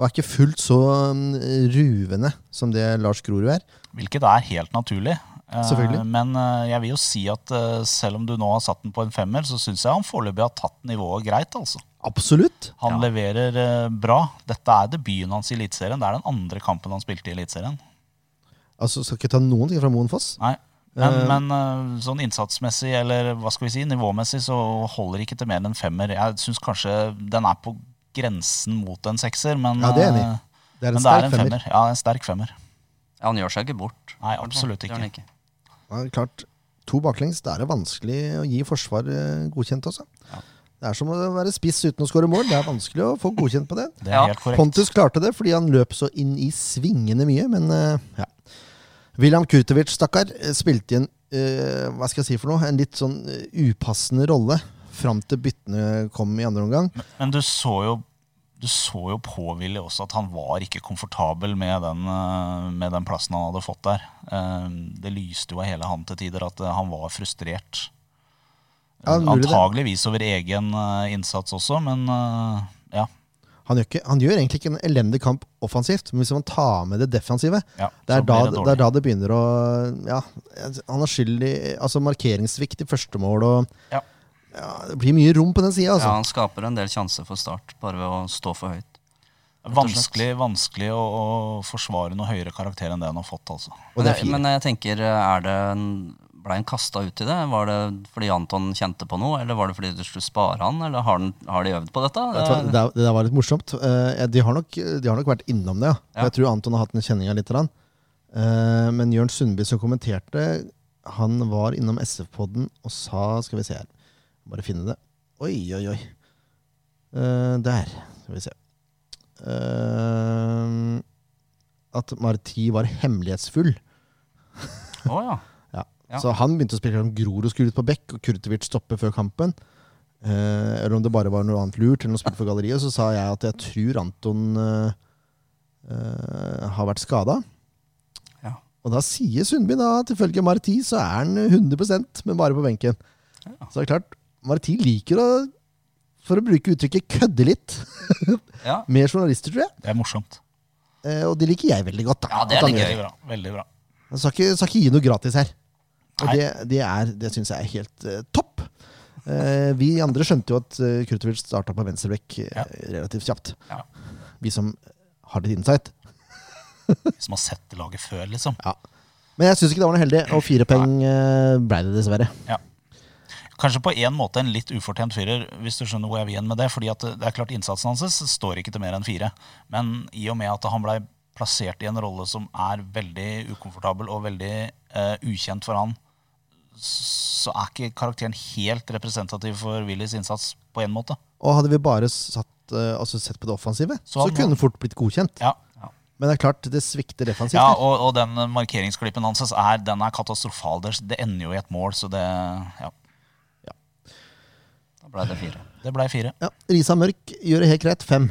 Speaker 1: Og er ikke fullt så mm, ruvende som det Lars Grorud er.
Speaker 2: Hvilket er helt naturlig. Eh,
Speaker 1: Selvfølgelig.
Speaker 2: Men eh, jeg vil jo si at eh, selv om du nå har satt den på en femmer, så syns jeg han foreløpig har tatt nivået greit. altså.
Speaker 1: Absolutt.
Speaker 2: Han leverer eh, bra. Dette er debuten hans i Eliteserien. Det er den andre kampen han spilte i Eliteserien.
Speaker 1: Altså, Skal ikke ta noen ting fra Moen Foss.
Speaker 2: Nei. Men, men eh, sånn innsatsmessig eller hva skal vi si, nivåmessig så holder ikke til mer enn en femmer. Jeg syns kanskje den er på grensen mot en sekser, men
Speaker 1: Ja, det er jeg enig i.
Speaker 2: eh,
Speaker 1: Det er en
Speaker 2: men det er
Speaker 1: sterk
Speaker 2: en
Speaker 1: femmer.
Speaker 2: femmer. Ja, en sterk femmer.
Speaker 3: Ja, han gjør seg ikke bort.
Speaker 2: Nei, absolutt
Speaker 3: Det gjør han
Speaker 2: ikke.
Speaker 1: Ja, klart, to baklengs, da er det vanskelig å gi forsvar eh, godkjent også.
Speaker 3: Ja.
Speaker 1: Det er som å være spiss uten å skåre mål. Det er vanskelig å få godkjent på det.
Speaker 2: Det er
Speaker 3: Ja.
Speaker 2: helt korrekt.
Speaker 1: Pontus klarte det fordi han løp så inn i svingene mye, men eh, ja. William Kurtovic, stakkar, eh, spilte i en eh, hva skal jeg si for noe, en litt sånn eh, upassende rolle fram til byttene kom i andre omgang.
Speaker 2: Men, men du så jo du så jo på Willy også at han var ikke komfortabel med den, eh, med den plassen han hadde fått der. Eh, Det lyste jo av hele han til tider at eh, han var frustrert.
Speaker 1: Ja, mulig det.
Speaker 2: Antageligvis over egen eh, innsats også, men eh, ja.
Speaker 1: Han gjør, ikke, han gjør egentlig ikke en elendig kamp offensivt, men hvis man tar med det defensive,
Speaker 2: ja
Speaker 1: det
Speaker 2: så
Speaker 1: er, da,
Speaker 2: blir
Speaker 1: det,
Speaker 2: dårlig.
Speaker 1: er da det begynner å Ja, han er skyld i altså markeringssvikt i første mål og
Speaker 2: Ja.
Speaker 1: ja, Det blir mye rom på den sida,
Speaker 3: Ja,
Speaker 1: altså.
Speaker 3: han skaper en del sjanser for start, bare ved å stå for høyt.
Speaker 2: Vanskelig, vanskelig å, å forsvare noe høyere karakter enn det han har fått. altså.
Speaker 1: Og det er fire.
Speaker 3: men jeg tenker, er det en, ble han kasta ut i det? Var det fordi Anton kjente på noe, eller var det fordi du skulle spare han? Eller har, den, har de øvd på dette?
Speaker 1: Vet du hva, Det, der- det der var litt morsomt. Eh, de, har nok, de har nok vært innom det, ja.
Speaker 3: Ja.
Speaker 1: Jeg tror Anton har hatt en kjenning av litt. grann. Eh, men Jørn Sundby som kommenterte, han var innom SF-podden og sa Skal vi se her. Bare finne det. Oi, oi, oi. Eh, der. Skal vi se. Eh, at Marti var hemmelighetsfull.
Speaker 3: Å, ja. Ja.
Speaker 1: Så han begynte å spille om Grorud skulle ut på bekk, og Kurtovic stoppe før kampen. Eh, eller om det bare var noe annet lurt, eller noe spilt for galleriet. Så sa jeg at jeg tror Anton eh, eh, har vært skada.
Speaker 3: Ja.
Speaker 1: Og da sier Sundby da at ifølge Marti så er han 100 men bare på benken. Så det er klart, Marti liker å, for å bruke uttrykket, kødde litt
Speaker 3: Ja.
Speaker 1: med journalister, tror jeg.
Speaker 2: Det er morsomt.
Speaker 1: Eh, og det liker jeg veldig godt. da
Speaker 3: Ja, det er
Speaker 1: At han
Speaker 3: litt
Speaker 1: gjør
Speaker 3: gøy.
Speaker 2: Veldig bra. veldig bra.
Speaker 1: jeg skal ikke, skal ikke gi noe gratis her. Og
Speaker 2: Nei.
Speaker 1: det, det, er- det syns jeg er helt eh, topp. Eh, vi andre skjønte jo at uh, Kurtovic starta på venstrebekk eh,
Speaker 2: Ja.
Speaker 1: relativt kjapt.
Speaker 3: Ja.
Speaker 1: Vi som har litt insight.
Speaker 2: De som har sett det laget før, liksom.
Speaker 1: Men jeg syns ikke det var noe heldig, og fire poeng eh, ble det dessverre.
Speaker 2: Kanskje på en måte en litt ufortjent firer, hvis du skjønner hvor jeg vil hen med det. fordi at det er klart Innsatsen hans står ikke til mer enn fire. Men i og med at han blei plassert i en rolle som er veldig ukomfortabel og veldig eh, ukjent for han, så er ikke karakteren helt representativ for Willys innsats på en måte.
Speaker 1: Og hadde vi bare satt, eh, altså sett på det offensive, så,
Speaker 2: Så han-
Speaker 1: kunne det fort blitt godkjent.
Speaker 2: Ja,
Speaker 1: Men det er klart, det svikter defensivt.
Speaker 2: ja
Speaker 1: der.
Speaker 2: og, og den markeringsklippen hans er, den er katastrofal. Det det ender jo i et mål, så det ja,
Speaker 3: Da ble det fire.
Speaker 2: det blei fire.
Speaker 1: Ja, Risa Mørk gjør det helt greit. Fem.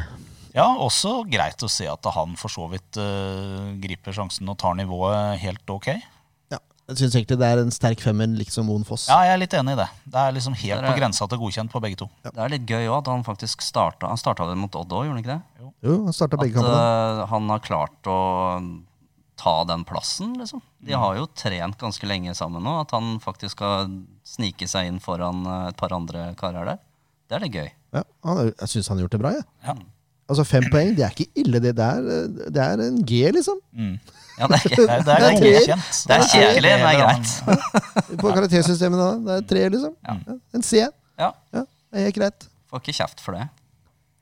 Speaker 2: Ja, også greit å se at han for så vidt eh, griper sjansen og tar nivået helt ok.
Speaker 1: Ja, jeg syns egentlig det er en sterk femmer, liksom Moen Foss.
Speaker 2: Ja, jeg er litt enig i det. Det er liksom helt
Speaker 3: Der er-
Speaker 2: på grensa til godkjent på begge to.
Speaker 3: Det er litt gøy òg at han faktisk starta Han starta det mot Odd òg, gjorde han ikke det?
Speaker 1: Jo, han starta begge
Speaker 3: At
Speaker 1: kampene.
Speaker 3: eh, han har klart å ta den plassen, liksom. De har jo trent ganske lenge sammen nå. At han faktisk skal snike seg inn foran eh, et par andre karer der. Det er litt gøy.
Speaker 2: eh,
Speaker 1: Ja, han, er- jeg syns han har gjort det bra, jeg.
Speaker 2: Ja.
Speaker 1: Altså Fem poeng, det er ikke ille. Det der eh, Det er en G, liksom.
Speaker 2: Mm.
Speaker 3: Ja, det er,
Speaker 2: Det, er-
Speaker 3: [LAUGHS]
Speaker 2: det er
Speaker 1: Det er tre-
Speaker 2: godkjent.
Speaker 3: det er kjedelig, men det er
Speaker 2: greit.
Speaker 1: På karaktersystemet da. Det er tre, liksom. Ja, En C.
Speaker 3: ja,
Speaker 1: Ja, det er helt greit.
Speaker 3: Får ikke kjeft for det.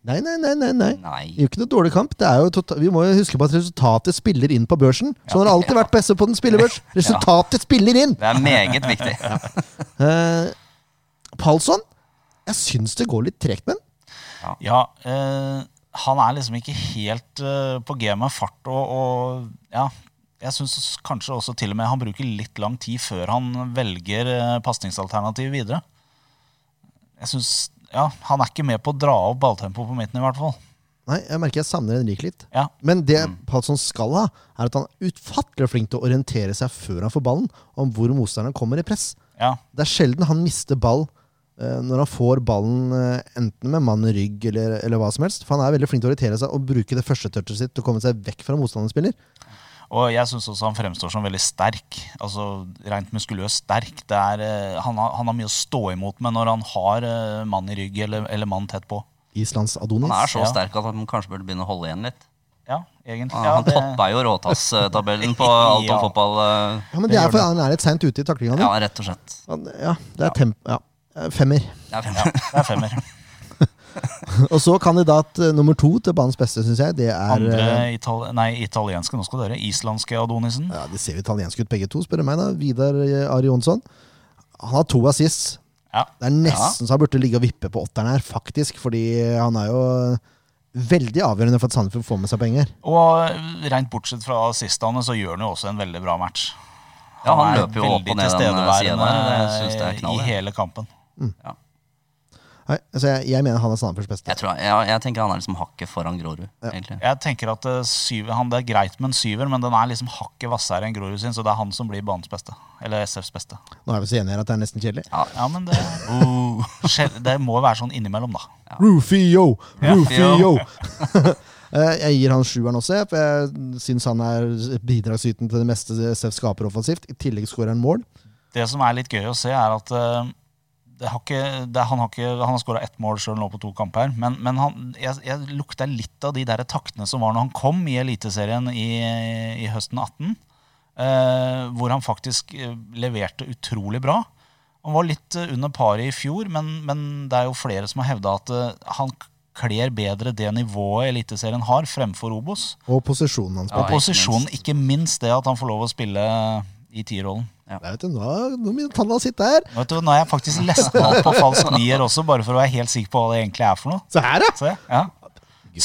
Speaker 1: Nei, nei, nei. nei, nei. Det
Speaker 3: Nei.
Speaker 1: er jo ikke noe dårlig kamp. Det er jo tota- vi må jo huske på at resultatet spiller inn på børsen. Sånn har det alltid vært på SV på den [LAUGHS] spillebørs. Resultatet spiller inn!
Speaker 3: Det er
Speaker 1: [LAUGHS]
Speaker 3: meget viktig.
Speaker 1: Eh, Palsson, jeg syns det går litt tregt med han.
Speaker 2: Ja, eh, han er liksom ikke helt eh, på G med fart og, og ja. Jeg syns kanskje også til og med han bruker litt lang tid før han velger uh, pasningsalternativet videre. Jeg synes, ja, Han er ikke med på å dra opp balltempoet på midten, i hvert fall.
Speaker 1: Nei, jeg merker jeg savner Henrik litt.
Speaker 2: Ja.
Speaker 1: Men det Palsson skal ha, er at han er utfattelig flink til å orientere seg før han får ballen, om hvor motstanderen kommer i press.
Speaker 2: Ja,
Speaker 1: Det er sjelden han mister ball eh, når han får ballen eh, enten med mann i rygg eller, eller hva som helst. For han er veldig flink til å orientere seg og bruke det første touchet sitt til å komme seg vekk fra motstanderens spiller.
Speaker 2: Og jeg syns også han fremstår som veldig sterk. Altså Rent muskuløst sterk. Det er, eh, han, har, han har mye å stå imot med når han har eh, mann i rygg eller, eller mann tett på.
Speaker 1: Islands Adonis.
Speaker 3: Han er så
Speaker 2: Ja.
Speaker 3: sterk at han kanskje burde begynne å holde igjen litt.
Speaker 2: Ja, egentlig.
Speaker 3: Han,
Speaker 2: Ja,
Speaker 3: Ah, han
Speaker 2: det-
Speaker 3: toppa jo Råtass-tabellen
Speaker 2: [LAUGHS]
Speaker 3: på alt om
Speaker 2: Ja.
Speaker 3: fotball. eh,
Speaker 1: Ja, men det
Speaker 2: Det
Speaker 1: er
Speaker 2: gjør
Speaker 1: for han er litt seint ute i taklinga nå.
Speaker 3: Ja, rett og slett.
Speaker 1: Han- Ja, det er temp... Ja. Eh, Femmer. [LAUGHS]
Speaker 3: Det er
Speaker 2: ja, det er femmer.
Speaker 1: Og så kandidat eh, nummer to til banens beste, syns jeg. Det er
Speaker 2: Andre
Speaker 1: eh,
Speaker 2: itali nei, italienske, nå skal dere. Islandske Adonisen.
Speaker 1: ja, De ser jo italienske ut, begge to, spør du meg. da Vidar eh, Ari Jonsson. Han har to assists.
Speaker 2: Ja.
Speaker 1: Det er nesten så han burde ligge og vippe på åtteren her, faktisk. Fordi han er jo veldig avgjørende for at Sandefjord får med seg penger.
Speaker 2: Og eh, rent bortsett fra assistene, så gjør han jo også en veldig bra match.
Speaker 3: [LAUGHS] Ja, han
Speaker 2: er
Speaker 3: løper jo opp
Speaker 2: veldig
Speaker 3: og ned den
Speaker 2: tilstedeværende
Speaker 3: sida der. Jeg synes det er knall.
Speaker 2: I
Speaker 3: jeg.
Speaker 2: hele kampen.
Speaker 3: Ja.
Speaker 1: Nei, altså jeg, jeg mener han er Sandefjords beste.
Speaker 3: Jeg, tror, han- ja, jeg tenker han er liksom hakket foran Grorud, egentlig.
Speaker 2: Jeg tenker at eh, syv, han, Det er greit med en syver, men den er liksom hakket hvassere enn Grorud sin, så det er han som blir banens beste. Eller SFs beste.
Speaker 1: Nå er vi så enige her at det er nesten kjedelig.
Speaker 2: Ja, men det, Skjel- det må være sånn innimellom, da.
Speaker 1: Rufio! Rufio!
Speaker 3: Ja.
Speaker 1: [LAUGHS] Eh, jeg gir han sjueren også, jeg, for jeg syns han er bidragsyten til det meste SF skaper offensivt. I tillegg skårer han mål.
Speaker 2: Det som er litt gøy å se, er at eh, det har ikke, det, han har, ikke- han har skåra ett mål sjøl nå på to kamper. Men, men han, jeg, jeg lukta litt av de der taktene som var når han kom i Eliteserien i, i høsten 18. eh, hvor han faktisk eh, leverte utrolig bra. Han var litt eh, under paret i fjor, men, men det er jo flere som har hevda at eh, han kler bedre det nivået Eliteserien har, fremfor Obos.
Speaker 1: Og posisjonen hans.
Speaker 3: Ja,
Speaker 2: Og
Speaker 3: ikke
Speaker 2: posisjonen, ikke minst det at han får lov å spille i tierrollen.
Speaker 1: Der, vet du, nå, nå begynner tallene å sitte her!
Speaker 2: Vet du, Nå har jeg faktisk lest meg opp på falsk nier også, bare for å være helt sikker på hva det egentlig er for noe.
Speaker 1: Se her, ja!
Speaker 2: Se, ja.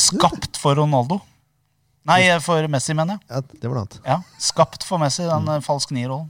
Speaker 2: Skapt for Ronaldo. Nei, for Messi, mener jeg.
Speaker 1: ja! Det var noe annet.
Speaker 2: Ja, Skapt for Messi, den eh, falsk nier-rollen.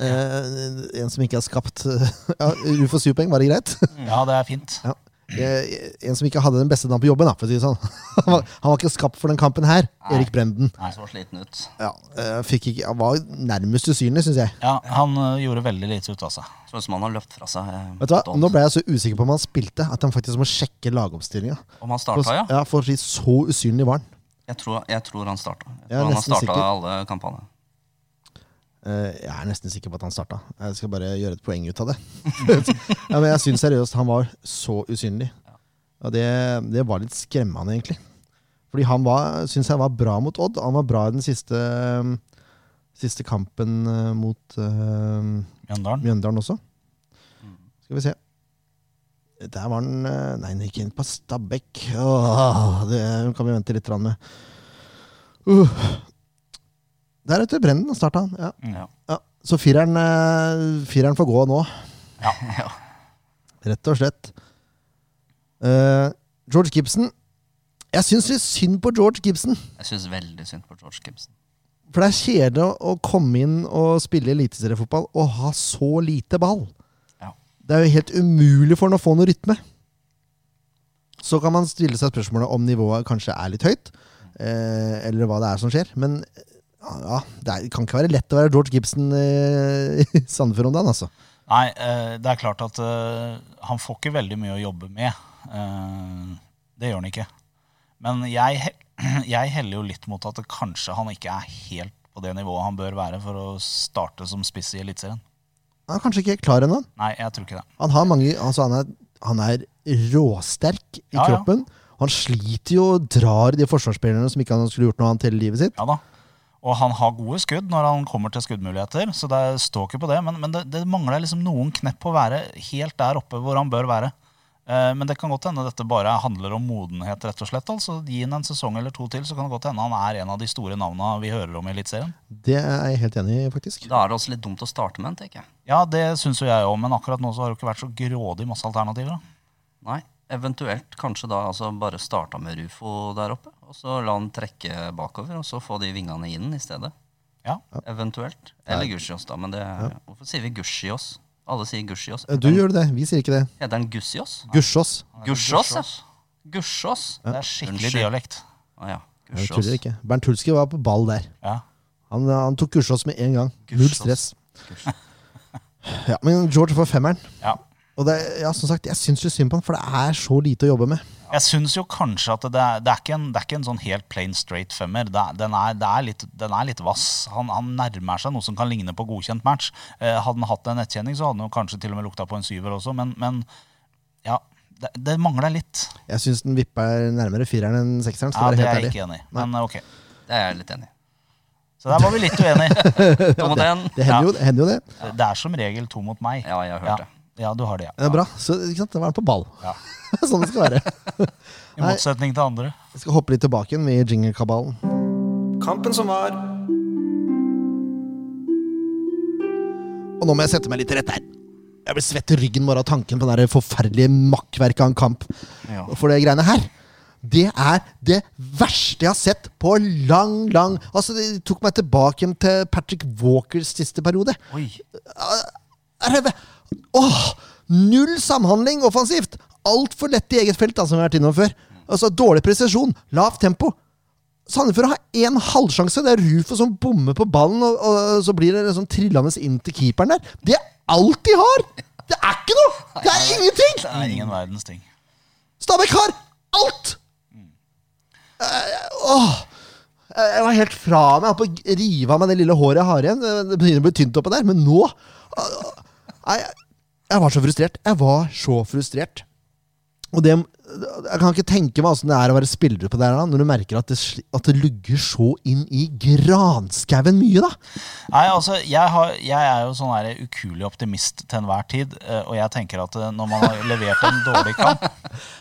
Speaker 1: Eh, en som ikke er skapt [LAUGHS] ja, Du får syv poeng, var det greit?
Speaker 2: Ja, det er fint.
Speaker 1: Ja. Eh, en som ikke hadde den beste dagen på jobben, da, for å si det sånn. [LAUGHS] Han var, han var ikke skapt for den kampen her. Erik Brenden.
Speaker 3: Han så sliten ut.
Speaker 1: Ja, eh, fikk ikke, han var nærmest usynlig, syns jeg.
Speaker 2: Ja, Han eh, gjorde veldig lite ut av seg.
Speaker 3: Tror som han har løpt fra seg. eh,
Speaker 1: Vet du hva?
Speaker 3: totalt.
Speaker 1: Nå ble jeg så usikker på om han spilte at han faktisk må sjekke lagoppstillinga.
Speaker 3: Om han
Speaker 1: For,
Speaker 3: starta, ja.
Speaker 1: ja, for å si så usynlig var han.
Speaker 3: Jeg tror, jeg tror han starta.
Speaker 1: Jeg er
Speaker 3: Jeg tror han har
Speaker 1: nesten
Speaker 3: starta
Speaker 1: sikker.
Speaker 3: alle kampene. [LAUGHS]
Speaker 1: Eh, jeg er nesten sikker på at han starta. Jeg skal bare gjøre et poeng ut av det. [LAUGHS] ja, men jeg syns seriøst han var så usynlig. Og det, det var litt skremmende, egentlig. Fordi han var, syns jeg var bra mot Odd. Han var bra i den siste, eh, siste kampen eh, mot eh,
Speaker 2: Mjøndalen.
Speaker 1: Mjøndalen også. Skal vi se. Der var den eh, Nei, den gikk inn på Stabæk. Åh, det kan vi vente litt grann med. Uh. Der, vet du. Brenden starta han. Ja.
Speaker 3: Ja.
Speaker 1: Ja. Så fireren, eh, fireren får gå nå,
Speaker 3: Ja.
Speaker 1: rett og slett. Eh, George Gibson. Jeg syns litt synd på George Gibson.
Speaker 3: Jeg syns veldig synd på George Gibson.
Speaker 1: For det er kjedelig å- å komme inn og spille eliteseriefotball og ha så lite ball.
Speaker 3: Ja.
Speaker 1: Det er jo helt umulig for han å få noe rytme. Så kan man stille seg spørsmålet om nivået kanskje er litt høyt, eh, eller hva det er som skjer. Men ja, det er, kan ikke være lett å være George Gibson eh, [LAUGHS] i Sandefjord om dagen, altså.
Speaker 2: Nei, eh, det er klart at eh, han får ikke veldig mye å jobbe med. Eh, Det gjør han ikke. Men jeg, he- [CLEARS THROAT] jeg heller jo litt mot at det kanskje han ikke er helt på det nivået han bør være for å starte som spiss i Eliteserien.
Speaker 1: Han er kanskje ikke klar ennå.
Speaker 2: Nei, jeg tror ikke det.
Speaker 1: Han har mange Altså, han er, han er råsterk i
Speaker 2: Ja, ja.
Speaker 1: kroppen. Han sliter jo og drar i de forsvarsspillerne som ikke han skulle gjort noe annet hele livet sitt.
Speaker 2: Ja da. Og han har gode skudd når han kommer til skuddmuligheter, så det står ikke på det. Men, men det, det mangler liksom noen knepp på å være helt der oppe hvor han bør være. Eh, men det kan godt hende dette bare handler om modenhet, rett og slett. altså Gi han en sesong eller to til, så kan det godt hende han er en av de store navna vi hører om i Eliteserien.
Speaker 1: Det er jeg helt enig i, faktisk.
Speaker 3: Da er det også litt dumt å starte med en, tenker jeg.
Speaker 2: Ja, det syns jo jeg òg, men akkurat nå så har det ikke vært så grådig masse alternativer. da.
Speaker 3: Nei, eventuelt kanskje da altså bare starta med Rufo der oppe, og så la han trekke bakover, og så få de vingene inn i stedet.
Speaker 2: Ja.
Speaker 3: Eventuelt. Eller Gussiås, da. Men det er, hvorfor sier vi Gussiås? Alle sier Gussiås.
Speaker 1: Eh, Du gjør det, vi sier ikke det.
Speaker 3: Heter han Gussiås?
Speaker 1: Gussiås.
Speaker 3: Gussiås, ja. Gussiås.
Speaker 2: Det er skikkelig
Speaker 3: Unnskyld.
Speaker 2: dialekt.
Speaker 3: Ah, ja.
Speaker 1: Jeg tuller
Speaker 3: Gussiås.
Speaker 1: ikke. Bernt Hulske var på ball der.
Speaker 2: Ja.
Speaker 1: Han, eh, han tok Gussiås med en gang. Null
Speaker 3: Gussiås.
Speaker 1: stress.
Speaker 3: Gussiås.
Speaker 1: [LAUGHS] Ja, men George får femmeren.
Speaker 2: ja.
Speaker 1: Og det, ja, som sagt, jeg syns jo synd på han, for det er så lite å jobbe med.
Speaker 2: Jeg syns jo kanskje at det er, det, er ikke en, det er ikke en sånn helt plain straight femmer. Det er, den, er, det er litt, den er litt vass. Han, han nærmer seg noe som kan ligne på godkjent match. Eh, hadde han hatt en nettkjenning, så hadde han jo kanskje til og med lukta på en syver også, men, men ja. Det, det mangler litt.
Speaker 1: Jeg syns den vipper nærmere fireren enn sekseren.
Speaker 2: Ja,
Speaker 1: Skal være
Speaker 2: det er jeg
Speaker 1: helt ærlig.
Speaker 2: ikke enig i. Men eh, ok.
Speaker 3: Det er jeg litt enig i.
Speaker 2: Så der var
Speaker 1: [LAUGHS]
Speaker 2: vi litt uenige.
Speaker 3: To mot én.
Speaker 1: Det hender jo, hender jo det.
Speaker 2: Det er som regel to mot meg.
Speaker 3: Ja, jeg har hørt det.
Speaker 2: Ja, du har det,
Speaker 1: Det
Speaker 2: ja.
Speaker 1: er bra. Så ikke sant? Da var han på ball.
Speaker 2: Ja.
Speaker 1: [LAUGHS] sånn det skal være.
Speaker 2: I motsetning til andre.
Speaker 1: Jeg skal hoppe litt tilbake igjen i jingle-kabalen.
Speaker 4: Kampen som var.
Speaker 1: Og nå må jeg sette meg litt til rette her. Jeg blir svett i ryggen bare av tanken på det der forferdelige makkverket av en kamp.
Speaker 2: Ja.
Speaker 1: For det greiene her. Det er det verste jeg har sett på lang, lang Altså, det tok meg tilbake igjen til Patrick Walkers siste periode.
Speaker 2: Oi.
Speaker 1: Er det- Åh, null samhandling offensivt! Altfor lett i eget felt, da, som vi har vært innom før. Altså, Dårlig presisjon, lavt tempo. Sandefjord har én halvsjanse. Det er Rufo som bommer på ballen, og, og så blir det liksom trillende inn til keeperen der. Det er alt de har! Det er ikke noe! Det er ingenting!
Speaker 2: Det er ingen verdens ting.
Speaker 1: Stabæk har alt! Eh, Åh Eh, Jeg var helt fra meg. Jeg holdt på å rive av meg det lille håret jeg har igjen. Eh, Det- Det begynner å bli tynt oppå der. Men nå eh, Nei, jeg- jeg var så frustrert. Jeg var så frustrert. Og det eh, Jeg kan ikke tenke meg åssen det er å være spillere på det her da, når du merker at det, sli- at det lugger så inn i granskauen mye, da.
Speaker 2: Nei, altså, jeg, har, jeg er jo sånn her ukuelig optimist til enhver tid, eh, og jeg tenker at eh, når man har levert en dårlig kamp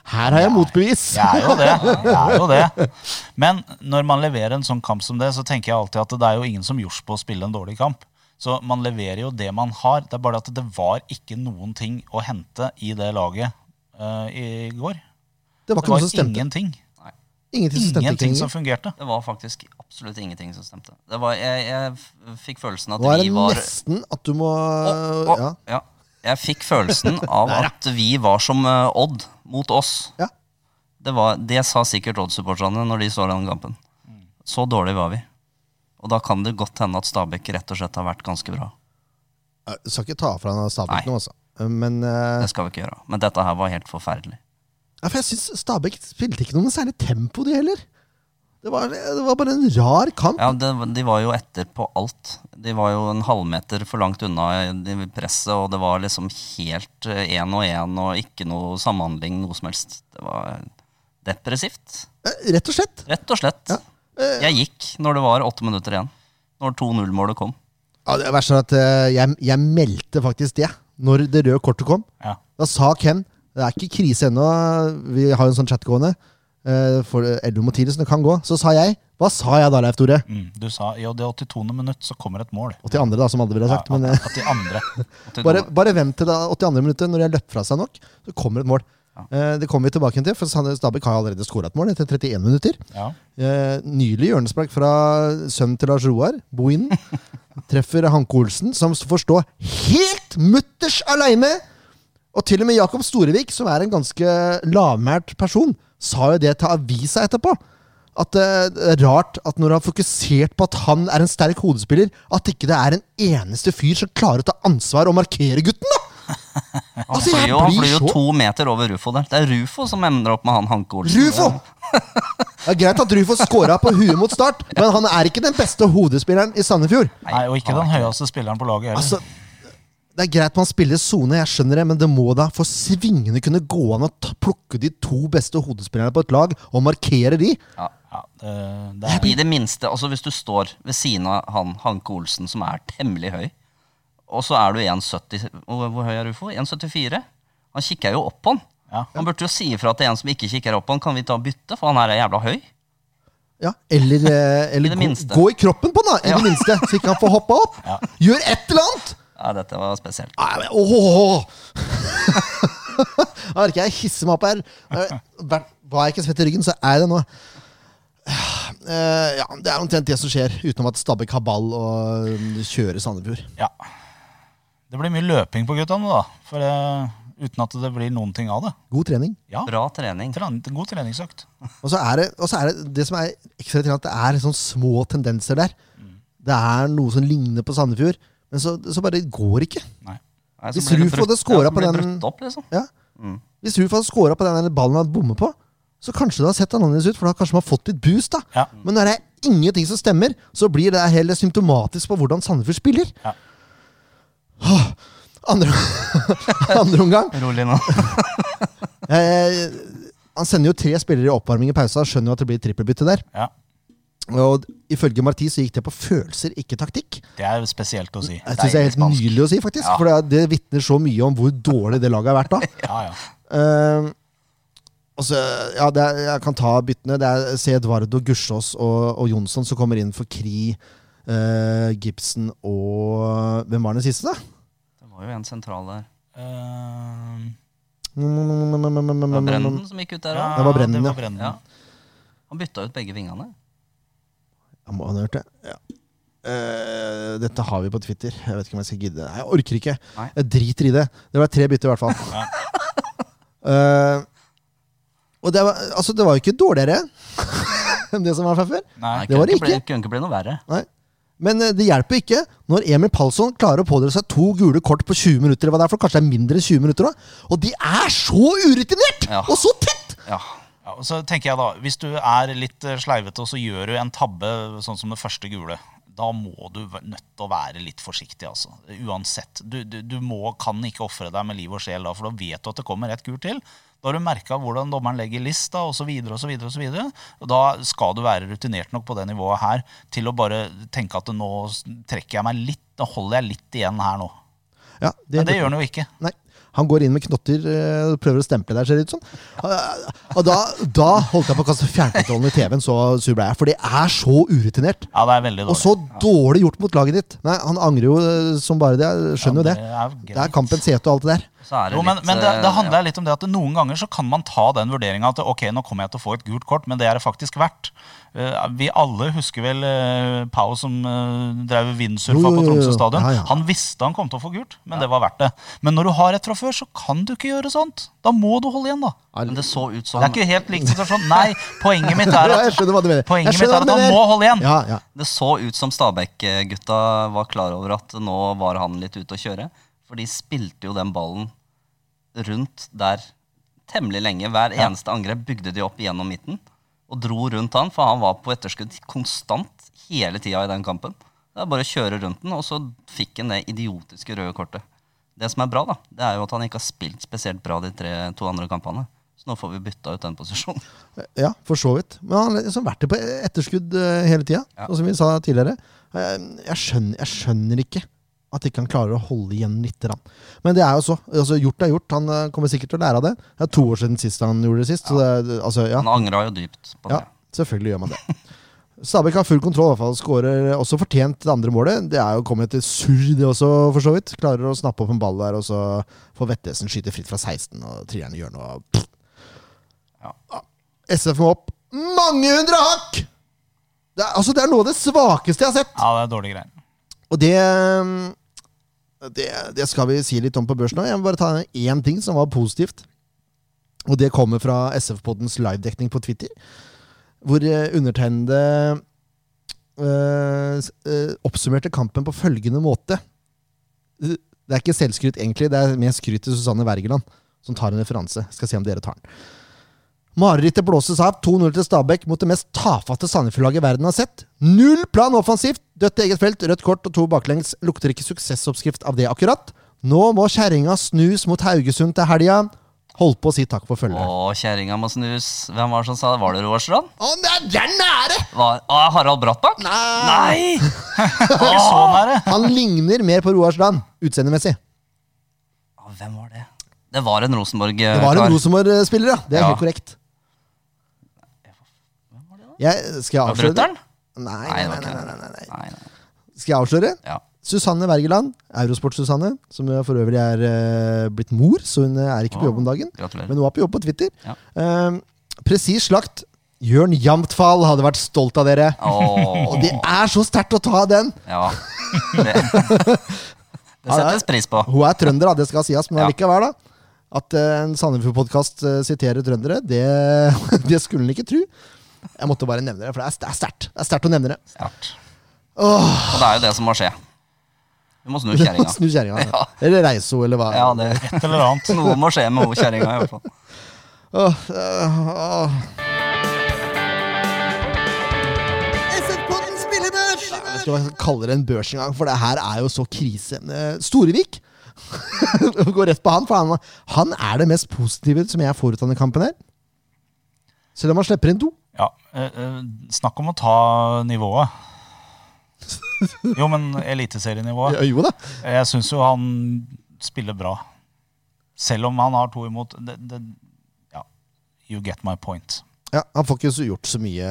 Speaker 1: Her har jeg motbevis.
Speaker 2: Jeg er jo det. Jeg er jo det. Men når man leverer en sånn kamp som det, så tenker jeg alltid at det er jo ingen som gjorde på å spille en dårlig kamp. Så man leverer jo det man har. Det er bare at det var ikke noen ting å hente i det laget eh, i går.
Speaker 1: Det var
Speaker 2: Det
Speaker 1: ikke noe
Speaker 2: var
Speaker 1: som stemte.
Speaker 2: ingenting.
Speaker 1: Ingenting som stemte.
Speaker 2: Ingenting
Speaker 1: Ingenting
Speaker 2: som fungerte.
Speaker 3: Det var faktisk absolutt ingenting som stemte. Det var, jeg, jeg f- fikk følelsen at
Speaker 1: Nå er
Speaker 3: vi
Speaker 1: det
Speaker 3: var
Speaker 1: nesten at du må
Speaker 3: Å,
Speaker 1: Eh,
Speaker 3: å,
Speaker 1: Ja.
Speaker 3: ja. Jeg fikk
Speaker 1: [LAUGHS]
Speaker 3: følelsen av at vi var som eh, Odd mot oss.
Speaker 1: ja.
Speaker 3: Det, var, det sa sikkert Odd-supporterne når de så den kampen. Så dårlig var vi. Og da kan det godt hende at Stabæk rett og slett har vært ganske bra.
Speaker 1: Jeg Eh, skal ikke ta fra han Stabæk
Speaker 3: Nei.
Speaker 1: nå, altså. Men eh,
Speaker 3: Det skal vi ikke gjøre. Men dette her var helt forferdelig.
Speaker 1: ja, for jeg syns Stabæk spilte ikke noe særlig tempo, de heller. Det var, det var bare en rar kamp.
Speaker 3: Ja, det, De var jo etter på alt. De var jo en halvmeter for langt unna i presset, og det var liksom helt én og én og ikke noe samhandling, noe som helst. Det var depressivt,
Speaker 1: Eh, Rett og slett.
Speaker 3: rett og slett.
Speaker 1: Ja. Eh,
Speaker 3: Jeg gikk når det var åtte minutter igjen. Når 2-0-målet kom.
Speaker 1: ja, det verste er at eh, jeg, jeg meldte faktisk det når det røde kortet kom.
Speaker 2: Ja.
Speaker 1: Da sa Ken det er ikke krise ennå, vi har jo en sånn chat gående. eh, For Eldo Mathiesen, det kan gå. Så sa jeg Hva sa jeg da, Leif Tore?
Speaker 2: Mm, du sa jo det 82. minutt, så kommer et mål.
Speaker 1: Og til andre, da, som alle ville ha sagt.
Speaker 2: Ja,
Speaker 1: men, eh,
Speaker 2: at, at de andre
Speaker 1: [LAUGHS]
Speaker 3: Til
Speaker 1: Bare,
Speaker 3: noe-
Speaker 1: bare vent til det 82. minuttet, når de har løpt fra seg nok, så kommer et mål. Eh, det kommer vi tilbake til, for Sande Stabæk har allerede skåra et mål etter 31 minutter.
Speaker 2: ja.
Speaker 1: Eh, nylig hjørnespark fra sønnen til Lars Roar, Bohinen. Treffer Hanke Olsen, som får stå helt mutters aleine! Og til og med Jakob Storevik, som er en ganske lavmælt person, sa jo det til avisa etterpå. At eh, det er rart at når du har fokusert på at han er en sterk hodespiller, at ikke det er en eneste fyr som klarer å ta ansvar og markere gutten, da!
Speaker 3: Han
Speaker 1: Altså,
Speaker 3: flyr
Speaker 1: jeg
Speaker 3: jo, han
Speaker 1: blir
Speaker 3: flyr jo
Speaker 1: så-
Speaker 3: to meter over Rufo der. Det er Rufo som emner opp med han Hanke Olsen.
Speaker 1: Rufo! Det er greit at Rufo scora på huet mot start, men han er ikke den beste hodespilleren i Sandefjord.
Speaker 2: Nei, og ikke den høyeste spilleren på laget heller.
Speaker 1: Altså, det er greit man spiller sone, jeg skjønner det, men det må da for svingende kunne gå an å ta, plukke de to beste hodespillerne på et lag og markere de.
Speaker 2: ja, det, det er,
Speaker 3: I det minste, altså hvis du står ved siden av han Hanke Olsen, som er temmelig høy, og så er du 1,70 Hvor hvor høy er Rufo? 1,74? Han kikker jo opp på han.
Speaker 2: Ja.
Speaker 3: Han burde jo si ifra til en som ikke kikker opp på han, kan vi ta bytte, for han her er jævla høy.
Speaker 1: Ja, eller
Speaker 3: [LAUGHS]
Speaker 1: eh, eller
Speaker 3: det
Speaker 1: gå,
Speaker 3: minste.
Speaker 1: gå i kroppen på den, da, i det minste, så ikke han får hoppa opp. Gjør et eller annet!
Speaker 3: Ja, dette var spesielt.
Speaker 1: Nei, men, åh. [LAUGHS] Jeg orker jeg hisse meg opp her. Eh, Var var jeg ikke svett i ryggen, så er jeg det nå. Eh, ja, Det er omtrent det som skjer, utenom at Stabæk har ball og mm, kjører Sandefjord.
Speaker 2: ja. det blir mye løping på gutta nå, da. For, eh, uten at det blir noen ting av det.
Speaker 1: God trening.
Speaker 2: Ja,
Speaker 3: Bra trening.
Speaker 2: tren god treningsøkt.
Speaker 1: Og så er det, og så er det det som er ekstra irriterende, at det er sånn små tendenser der.
Speaker 2: Mm.
Speaker 1: Det er noe som ligner på Sandefjord, men så, så bare går ikke.
Speaker 2: Nei.
Speaker 3: Nei, så
Speaker 1: Hvis
Speaker 3: blir det
Speaker 1: Rufo
Speaker 3: brutt-
Speaker 1: hadde scoret
Speaker 3: ja, så
Speaker 1: på
Speaker 3: blir det
Speaker 1: den-
Speaker 3: brutt opp, liksom.
Speaker 1: Ja.
Speaker 2: Mm.
Speaker 1: Hvis Ruf hadde scora på den der ballen han bommer på, så kanskje det har sett annerledes ut, for da har kanskje man fått litt boost. da.
Speaker 2: Ja.
Speaker 1: Men når det er ingenting som stemmer, så blir det heller symptomatisk på hvordan Sandefjord spiller.
Speaker 2: Ja.
Speaker 1: Åh, Andre, [LAUGHS] andre omgang
Speaker 3: Rolig nå.
Speaker 1: eh, Han sender jo tre spillere i oppvarming i pausa, skjønner jo at det blir trippelbytte der.
Speaker 2: Ja.
Speaker 1: Og ifølge Marti så gikk det på følelser, ikke taktikk.
Speaker 2: Det er jo spesielt å si.
Speaker 1: Jeg synes det er helt
Speaker 3: Deilig spansk.
Speaker 1: nydelig å si, faktisk.
Speaker 3: Ja.
Speaker 1: For det, det vitner så mye om hvor dårlig det laget har vært da.
Speaker 2: Ja, ja.
Speaker 1: Eh, og så, ja, det er, jeg kan ta byttene. Det er C. Eduardo, Gussiås og, og Jonsson som kommer inn for Kri, eh, Gibson og Hvem var den siste, da?
Speaker 3: Det var jo en sentral der.
Speaker 2: Eh,
Speaker 3: Det var
Speaker 1: Mm,
Speaker 3: Brenden som gikk ut der
Speaker 2: ja,
Speaker 3: òg.
Speaker 1: Det var Brenden, ja.
Speaker 2: det var Brenden.
Speaker 3: Ja. Han bytta ut begge vingene.
Speaker 1: Jeg må ha hørt det. Ja. Eh, dette har vi på Twitter. Jeg vet ikke om jeg skal gidde. Nei, Jeg orker ikke.
Speaker 3: Nei.
Speaker 1: Jeg driter i det. Det var tre bytter, i hvert fall. Eh, og det var, altså, det var jo ikke dårligere enn det som var fra før.
Speaker 2: Nei,
Speaker 3: Nei,
Speaker 1: det var det
Speaker 3: kunne
Speaker 1: ikke.
Speaker 3: Bli, kunne ikke bli noe verre.
Speaker 1: Nei. Men eh, det hjelper ikke når Emil Palsson klarer å pådra seg to gule kort på 20 minutter. eller Hva det er for Kanskje det er mindre enn 20 minutter da. Og de er så urutinert!
Speaker 3: Ja.
Speaker 1: Og så tett!
Speaker 3: Ja.
Speaker 2: Ja, og så tenker jeg da, Hvis du er litt eh, sleivete og så gjør du en tabbe, sånn som det første gule, da må du væ- nødt til å være litt forsiktig. altså. Uansett. Du, du, du må, kan ikke ofre deg med liv og sjel da, for da vet du at det kommer et gult til. Da har du merka hvordan dommeren legger lista osv. Da skal du være rutinert nok på det nivået her til å bare tenke at nå s- trekker jeg meg litt, nå holder jeg litt igjen her nå.
Speaker 1: Ja,
Speaker 2: Men det gjør han jo ikke.
Speaker 1: Nei. Han går inn med knotter eh, og prøver å stemple der, ser det ut som. Eh, Og da, da holdt jeg på å kaste fjernkontrollen i TV-en, så sur ble jeg. For det er så urutinert.
Speaker 2: Ja, det er veldig
Speaker 1: Og
Speaker 2: dårlig.
Speaker 1: så dårlig gjort mot laget ditt. Nei, Han angrer jo eh, som bare det. Jeg skjønner jo
Speaker 2: Ja,
Speaker 1: det.
Speaker 2: det er
Speaker 1: Det er kampens sete og alt det der.
Speaker 3: Så er det
Speaker 2: Jo, men,
Speaker 3: litt
Speaker 2: men det, det
Speaker 3: eh,
Speaker 2: handler litt om det at noen ganger så kan man ta den vurderinga at ok, nå kommer jeg til å få et gult kort, men det er det faktisk verdt. Eh, Vi alle husker vel eh, Pau som eh,
Speaker 1: Jo,
Speaker 2: drev vindsurfa
Speaker 1: jo,
Speaker 2: på
Speaker 1: jo, jo.
Speaker 2: Tromsø stadion.
Speaker 1: Ja, ja.
Speaker 2: Han visste han kom til å få gult, men det var verdt det. Men når du har et fra før, så kan du ikke gjøre sånt. Da må du holde igjen, da.
Speaker 3: ja. Men det så ut som
Speaker 2: Det er ikke helt lik situasjon. Nei, poenget mitt
Speaker 1: [LAUGHS]
Speaker 2: er
Speaker 1: Ja, jeg
Speaker 2: at,
Speaker 1: skjønner hva du mener.
Speaker 2: poenget
Speaker 1: Jeg
Speaker 2: mitt
Speaker 1: skjønner hva
Speaker 2: er at
Speaker 1: du
Speaker 2: han
Speaker 1: mener.
Speaker 2: må holde igjen.
Speaker 1: Ja, ja.
Speaker 3: Det så ut som Stabæk-gutta var klar over at nå var han litt ute å kjøre. For de spilte jo den ballen rundt der temmelig lenge. Hver eneste angrep bygde de opp gjennom midten og dro rundt han, for han var på etterskudd konstant hele tida i den kampen. Det er bare å kjøre rundt den, og så fikk han det idiotiske røde kortet. Det som er bra, da, det er jo at han ikke har spilt spesielt bra de tre, to andre kampene. Så nå får vi bytta ut den posisjonen.
Speaker 1: Ja, for så vidt. Men han har liksom vært det på etterskudd eh, hele tida,
Speaker 3: Ja.
Speaker 1: sånn som vi sa tidligere. Eh, Jeg skjønner, jeg skjønner ikke at ikke han klarer å holde igjen litt. grann. Men det er jo så. Altså, gjort er gjort. Han eh, kommer sikkert til å lære av det. Det er to år siden sist han gjorde det sist. Så det, er- altså, ja.
Speaker 3: Han angra jo dypt på
Speaker 1: ja,
Speaker 3: det.
Speaker 1: selvfølgelig gjør man det. Stabæk har full kontroll, i hvert fall. Skårer også fortjent det andre målet. Det er jo kommet til surr, det også, for så vidt. Klarer å snappe opp en ball der, og så får Vettesen skyte fritt fra 16, og trierne gjør noe pff. SF må opp mange hundre hakk! Det er, altså, det er noe av det svakeste jeg har sett.
Speaker 2: Ja, det er dårlige greier.
Speaker 1: Og det, mm, det Det skal vi si litt om på børsen nå. Jeg må bare ta én ting som var positivt. Og det kommer fra SF-poddens livedekning på Twitter. Hvor eh, undertegnede eh, s- eh, oppsummerte kampen på følgende måte. Eh, Det er ikke selvskryt, egentlig. Det er mer skryt til Susanne Wergeland, som tar en referanse. Skal se om dere tar den. Marerittet blåses av. 2-0 til Stabæk mot det mest tafatte Sandefjord-laget verden har sett. Null plan offensivt. Dødt i eget felt, rødt kort og to baklengs. Lukter ikke suksessoppskrift av det, akkurat. Nå må kjerringa snus mot Haugesund til helga. Holdt på å si takk for følgeren.
Speaker 3: Å, kjerringa må snus. Hvem var det som sa det? Var det Roar Strand?
Speaker 1: Å, det er- det er nære!
Speaker 3: Var, å, Harald Brattbakk? Nei!
Speaker 2: Ikke så nære.
Speaker 1: Han ligner mer på Roar Strand utseendemessig.
Speaker 3: Å, hvem var det? Det var en Rosenborg-kar.
Speaker 1: Det var en Rosenborg-spiller, ja. Det er
Speaker 3: Ja.
Speaker 1: helt korrekt. Jeg, skal jeg avsløre det?
Speaker 3: Brutter'n?
Speaker 1: Nei, nei,
Speaker 3: Nei, det var
Speaker 1: nei,
Speaker 3: ikke
Speaker 1: nei,
Speaker 3: det.
Speaker 1: nei, nei.
Speaker 3: Nei, nei.
Speaker 1: Skal jeg avsløre?
Speaker 3: Ja.
Speaker 1: Susanne Wergeland, Eurosport-Susanne, som jo for øvrig er eh, blitt mor, så hun eh, er ikke på jobb om dagen.
Speaker 3: Gratulerer.
Speaker 1: Men hun var på jobb på Twitter.
Speaker 3: Ja.
Speaker 1: Eh, Presis slakt. Jørn Jamtfall hadde vært stolt av dere.
Speaker 3: Å,
Speaker 1: [LAUGHS] Og det er så sterkt å ta den!
Speaker 3: ja. Det, det [LAUGHS] settes pris på.
Speaker 1: Hun er trønder, da, det skal sies, men
Speaker 3: Ja.
Speaker 1: allikevel, da. At eh, en Sandefjord-podkast eh, siterer trøndere, det, [LAUGHS] det skulle en ikke tro. Jeg måtte bare nevne det, for det er- det er sterkt. Det er sterkt å nevne det.
Speaker 3: Sterkt. Og det er jo det som må skje. Du må snu kjerringa.
Speaker 1: [LAUGHS] Snu kjerringa.
Speaker 3: Ja.
Speaker 1: Eller reise henne, eller hva.
Speaker 3: Ja, det,
Speaker 2: Et eller annet.
Speaker 3: [LAUGHS] noe må skje med ho kjerringa, i hvert fall.
Speaker 1: Åh, øh, åh. Nei, Jeg vet ikke hva jeg skal kalle det en børs engang, for det her er jo så krise. Eh, Storevik [LAUGHS] går rett på han, for han, han er det mest positive som jeg får ut av denne kampen. her Selv om han slipper inn to.
Speaker 2: Ja, eh, eh, snakk om å ta
Speaker 1: [LAUGHS]
Speaker 2: nivået. Jo, men eliteserienivået.
Speaker 1: Ja, jo da.
Speaker 2: Jeg syns jo han spiller bra. Selv om han har to imot. Det, det, ja, you get my point.
Speaker 1: Ja, han får ikke så gjort så mye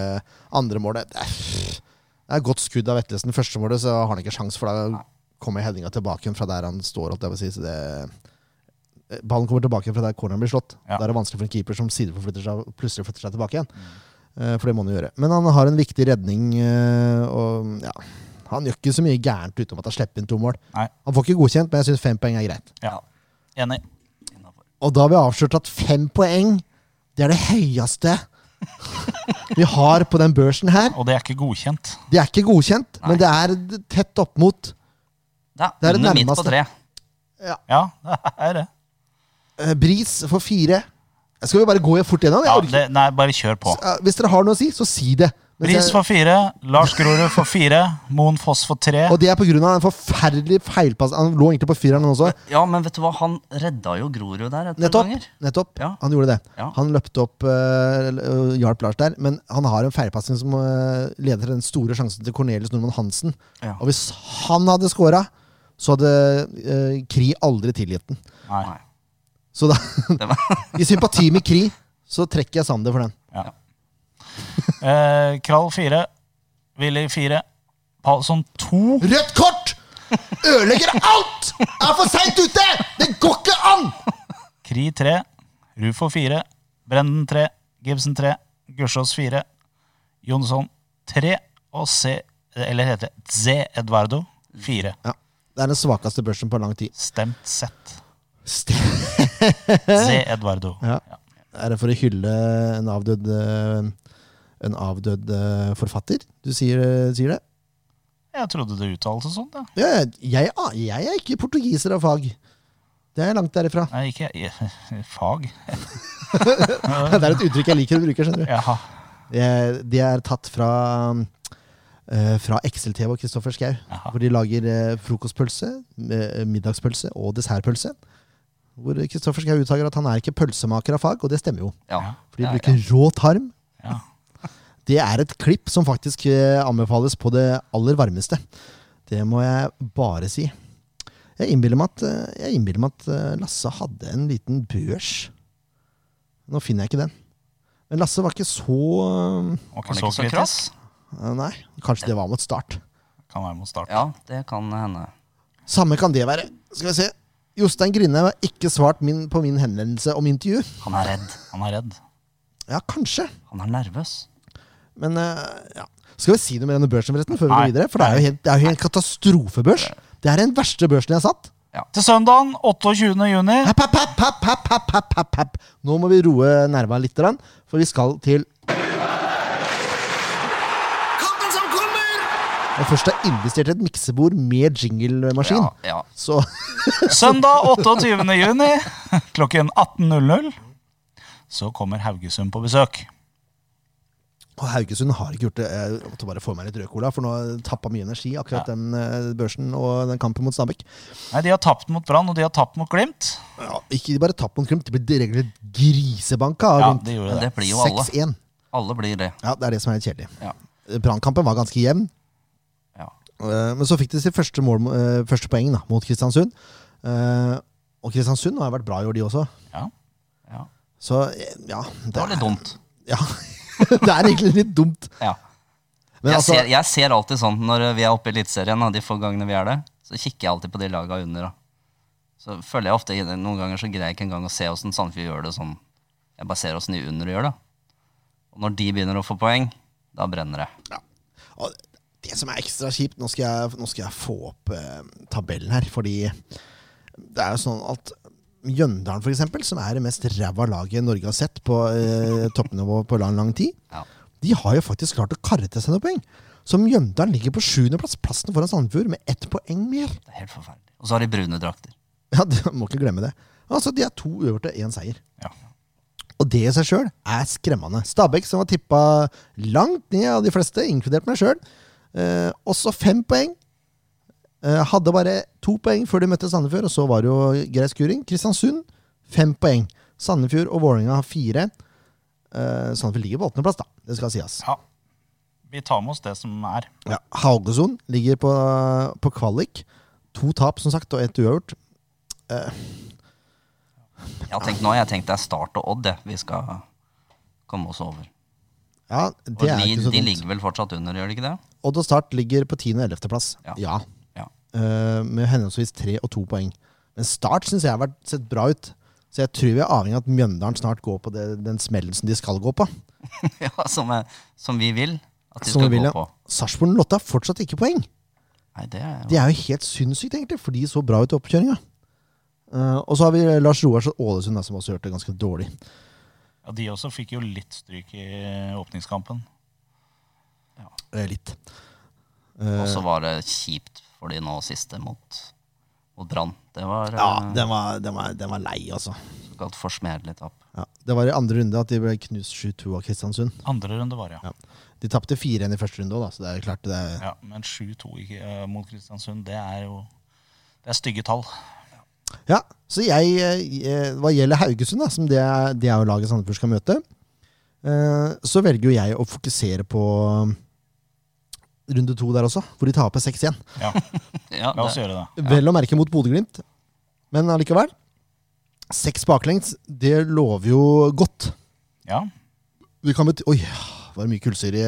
Speaker 1: andre målet. Det er- det er et godt skudd av Vetlesen. Første målet så har han ikke sjans, for da kommer headinga tilbake igjen fra der han står. holdt jeg på å si, så det... Ballen kommer tilbake igjen fra der corneren blir slått.
Speaker 2: Ja.
Speaker 1: Da er det vanskelig for en keeper som sideforflytter seg plutselig flytter seg tilbake igjen. Eh, For det må han jo gjøre. Men han har en viktig redning. eh, Og ja, han gjør ikke så mye gærent utenom at han slipper inn to mål.
Speaker 2: Nei.
Speaker 1: Han får ikke godkjent, men jeg syns fem poeng er greit.
Speaker 2: Ja. Enig.
Speaker 3: Innenfor.
Speaker 1: Og da har vi avslørt at fem poeng Det er det høyeste vi har på den børsen her.
Speaker 2: Og det er ikke godkjent.
Speaker 1: Det er ikke godkjent, men
Speaker 3: Nei.
Speaker 1: det er tett opp mot
Speaker 3: Det
Speaker 1: Det er
Speaker 3: er
Speaker 1: det
Speaker 3: under midt på
Speaker 1: nærmeste.
Speaker 3: tre.
Speaker 2: Ja, [LAUGHS] det er det.
Speaker 1: eh, Bris for fire. Skal vi bare gå fort gjennom?
Speaker 2: Ja,
Speaker 1: Jeg orker-
Speaker 2: det nei, bare kjør på.
Speaker 1: Eh, Hvis dere har noe å si, så si det. Mens
Speaker 2: Bris
Speaker 1: jeg,
Speaker 2: for fire, Lars Grorud for fire, Moen Foss for tre.
Speaker 1: og det er på grunn av en forferdelig feilpass. Han lå egentlig på fireren, han også.
Speaker 3: Ja, men vet du hva, han redda jo Grorud der et par
Speaker 1: Nettopp.
Speaker 3: ganger.
Speaker 1: nettopp.
Speaker 3: Ja.
Speaker 1: Han gjorde det.
Speaker 3: Ja.
Speaker 1: Han løpte opp eh, og hjalp Lars der, men han har en feilpassing som eh, leder til den store sjansen til Cornelius Nordmann Hansen.
Speaker 3: Ja.
Speaker 1: Og hvis han hadde scora, så hadde eh, Kri aldri tilgitt den.
Speaker 2: Nei.
Speaker 3: Nei.
Speaker 1: Så da, [LAUGHS]
Speaker 3: Det var, [LAUGHS]
Speaker 1: i sympati med Kri, så trekker jeg Sander for den.
Speaker 2: Ja. Eh, Krall fire, Willy fire, Palsson to.
Speaker 1: Rødt kort! Ødelegger alt! Er for seint ute! Det går ikke an!
Speaker 2: Kri 3, Rufo 4, Brenden 3, Gibson 3, Gursås 4, Jonsson 3 og C, eller heter det Z Eduardo 4.
Speaker 1: Ja, Det er den svakeste børsen på lang tid.
Speaker 2: Stemt sett.
Speaker 1: Ste-
Speaker 2: Z Eduardo.
Speaker 1: Ja. Er det for å hylle en avdød eh, En avdød eh, forfatter? Du sier, eh, sier det?
Speaker 2: Jeg trodde det uttalte sånn, da.
Speaker 1: Ja, jeg, a- jeg er ikke portugiser av fag. Det er langt derifra.
Speaker 2: Nei, ikke jeg. [LAUGHS] fag.
Speaker 1: [LAUGHS] Det er et uttrykk jeg liker å bruke.
Speaker 2: [LAUGHS]
Speaker 1: skjønner du
Speaker 2: Jaha.
Speaker 1: Eh, Det er tatt fra eh, Fra Excel-TV og Kristoffer Schau.
Speaker 2: Jaha.
Speaker 1: Hvor de lager eh, frokostpølse, eh, middagspølse og dessertpølse. Hvor Kristoffer Schau uttaler at han er ikke pølsemaker av fag, og det stemmer jo.
Speaker 3: ja.
Speaker 1: For de
Speaker 3: Ja,
Speaker 1: bruker rå tarm.
Speaker 2: Ja.
Speaker 1: [LAUGHS] Det er et klipp som faktisk eh, anbefales på det aller varmeste. Det må jeg bare si. Jeg innbiller meg at, eh, jeg innbiller meg at eh, Lasse hadde en liten børs. Nå finner jeg ikke den. Men Lasse var ikke så
Speaker 2: Var
Speaker 3: Var
Speaker 2: ikke
Speaker 3: det
Speaker 2: så
Speaker 3: ikke så krass?
Speaker 2: kritisk.
Speaker 1: eh, Nei, kanskje det var mot start.
Speaker 2: Kan være mot start.
Speaker 3: Ja, det kan hende.
Speaker 1: Samme kan det være. Skal vi se. Jostein Grine har ikke svart min, på min henvendelse om intervju.
Speaker 3: Han er redd.
Speaker 2: Han er redd.
Speaker 1: Ja, kanskje.
Speaker 3: Han er nervøs.
Speaker 1: Men eh, ja. Skal vi si noe mer om denne børsen forresten, før vi går
Speaker 2: Nei.
Speaker 1: videre? For det er jo helt, det er jo helt katastrofebørs. Det er den verste børsen jeg har satt.
Speaker 2: Til søndagen 28. juni.
Speaker 1: Hepp, hepp, hepp, hepp, hepp, hepp, hepp, hepp, hepp. Nå må vi roe nerva litt, grann, for vi skal til
Speaker 4: Kampen som kommer!
Speaker 1: Jeg først har investert i et miksebord med jinglemaskin.
Speaker 3: Ja, ja.
Speaker 1: Så
Speaker 2: Søndag 28. juni klokken 18.00 så kommer Haugesund på besøk.
Speaker 1: Og Haugesund har ikke gjort det. Jeg måtte bare få meg litt rød cola, for nå tappa mye energi akkurat den eh, børsen og den kampen mot Stabæk.
Speaker 2: Nei, De har tapt mot Brann og de har tapt mot Glimt.
Speaker 1: Ja, ikke bare tapp mot Glimt, de ble direkte grisebanka av
Speaker 2: Ja,
Speaker 1: Glimt.
Speaker 2: de gjorde
Speaker 3: Men
Speaker 2: det.
Speaker 3: det blir jo alle.
Speaker 1: 6-1.
Speaker 3: Alle blir det.
Speaker 1: Ja, det er det som er litt kjedelig.
Speaker 3: Ja.
Speaker 1: Brannkampen var ganske jevn.
Speaker 3: Ja.
Speaker 1: Eh, Men så fikk de sitt første, mål, eh, første poeng da, mot Kristiansund. Eh, Og Kristiansund har vært bra i år, de også.
Speaker 2: Ja.
Speaker 3: ja.
Speaker 1: Så eh, ja
Speaker 3: Det var litt dumt.
Speaker 1: Ja, [LAUGHS] det er egentlig litt dumt.
Speaker 3: Ja.
Speaker 1: Men
Speaker 3: jeg,
Speaker 1: altså,
Speaker 3: ser, jeg ser alltid sånn når vi er oppe i Eliteserien, og de få gangene vi er der, så kikker jeg alltid på de laga under. Da. Så føler jeg ofte inn- Noen ganger så greier jeg ikke engang å se åssen Sandefjord gjør det sånn. Jeg bare ser åssen de under gjør det. Og når de begynner å få poeng, da brenner det.
Speaker 1: og det som er ekstra kjipt Nå skal jeg, nå skal jeg få opp eh, tabellen her, fordi det er jo sånn at Mjøndalen, for eksempel, som er det mest ræva laget Norge har sett på eh, toppnivå på lang, lang tid,
Speaker 3: Ja.
Speaker 1: de har jo faktisk klart å karre til seg noen poeng. Så Mjøndalen ligger på sjuendeplass, plassen foran Sandefjord, med ett poeng mer.
Speaker 3: Det er helt forferdelig. Og så har de brune drakter.
Speaker 1: [LAUGHS] Ja, du må ikke glemme det. Altså, De er to uøverte, én seier.
Speaker 2: Ja.
Speaker 1: Og det i seg sjøl er skremmende. Stabæk, som var tippa langt ned av de fleste, inkludert meg sjøl, eh, også fem poeng. Eh, hadde bare to poeng før de møtte Sandefjord, og så var det jo grei skuring. Kristiansund, fem poeng. Sandefjord og Vålerenga har fire. Eh, Sandefjord ligger på åttendeplass, da. Det skal sies.
Speaker 2: Ja. Vi tar med oss det som er.
Speaker 1: Ja, Haugesund ligger på, på kvalik. To tap, som sagt, og ett uavgjort.
Speaker 3: Jeg har tenkt nå, jeg har tenkt det er Start og Odd, det. Vi skal komme oss over.
Speaker 1: Ja,
Speaker 3: Og
Speaker 1: det er
Speaker 3: de,
Speaker 1: ikke så
Speaker 3: de
Speaker 1: dumt.
Speaker 3: ligger vel fortsatt under, gjør de ikke det?
Speaker 1: Odd og Start ligger på 10. og 11. plass.
Speaker 3: Ja.
Speaker 1: Ja.
Speaker 3: Ja.
Speaker 1: Eh, med henholdsvis tre og to poeng. Men Start syns jeg har vært, sett bra ut. Så jeg tror vi er avhengig av at Mjøndalen snart går på det, den smellen som de skal gå på.
Speaker 3: [LAUGHS] ja, som, er- som vi vil at de
Speaker 1: Som
Speaker 3: skal
Speaker 1: vi vil,
Speaker 3: gå
Speaker 1: ja.
Speaker 3: på.
Speaker 1: Sarpsborg 08 har fortsatt ikke poeng.
Speaker 3: Nei, det er jo
Speaker 1: Det er jo helt sinnssykt, egentlig, for de så bra ut i oppkjøringa. Eh, og så har vi Lars Roars og Ålesund, da, som også gjort det ganske dårlig.
Speaker 2: Ja, de også fikk jo litt stryk i åpningskampen.
Speaker 1: Eh, litt.
Speaker 3: Og så var det kjipt for de nå siste mot, mot Brann. Det var
Speaker 1: Ja,
Speaker 3: eh,
Speaker 1: den var, den var, den var lei, altså.
Speaker 3: såkalt forsmedelig tap.
Speaker 1: Ja. Det var i andre runde at de ble knust 7-2 av Kristiansund.
Speaker 2: Andre runde var det, ja.
Speaker 1: Ja. De tapte 4-1 i første runde òg, så det er klart det er
Speaker 2: ja men 7-2 i- eh, mot Kristiansund, det er jo Det er stygge tall.
Speaker 1: Ja, så jeg, eh, hva gjelder Haugesund, da, som det er, det er jo laget Sandefjord skal møte, eh, så velger jo jeg å fokusere på um, runde to der også, hvor de taper 6-1.
Speaker 2: Ja,
Speaker 3: [LAUGHS] Ja,
Speaker 2: La oss
Speaker 3: [LAUGHS] det,
Speaker 2: gjøre det.
Speaker 1: Vel å merke mot Bodø-Glimt, men allikevel. Seks baklengs, det lover jo godt.
Speaker 2: Ja,
Speaker 1: Det kan bety Oi, var det mye kullsyre i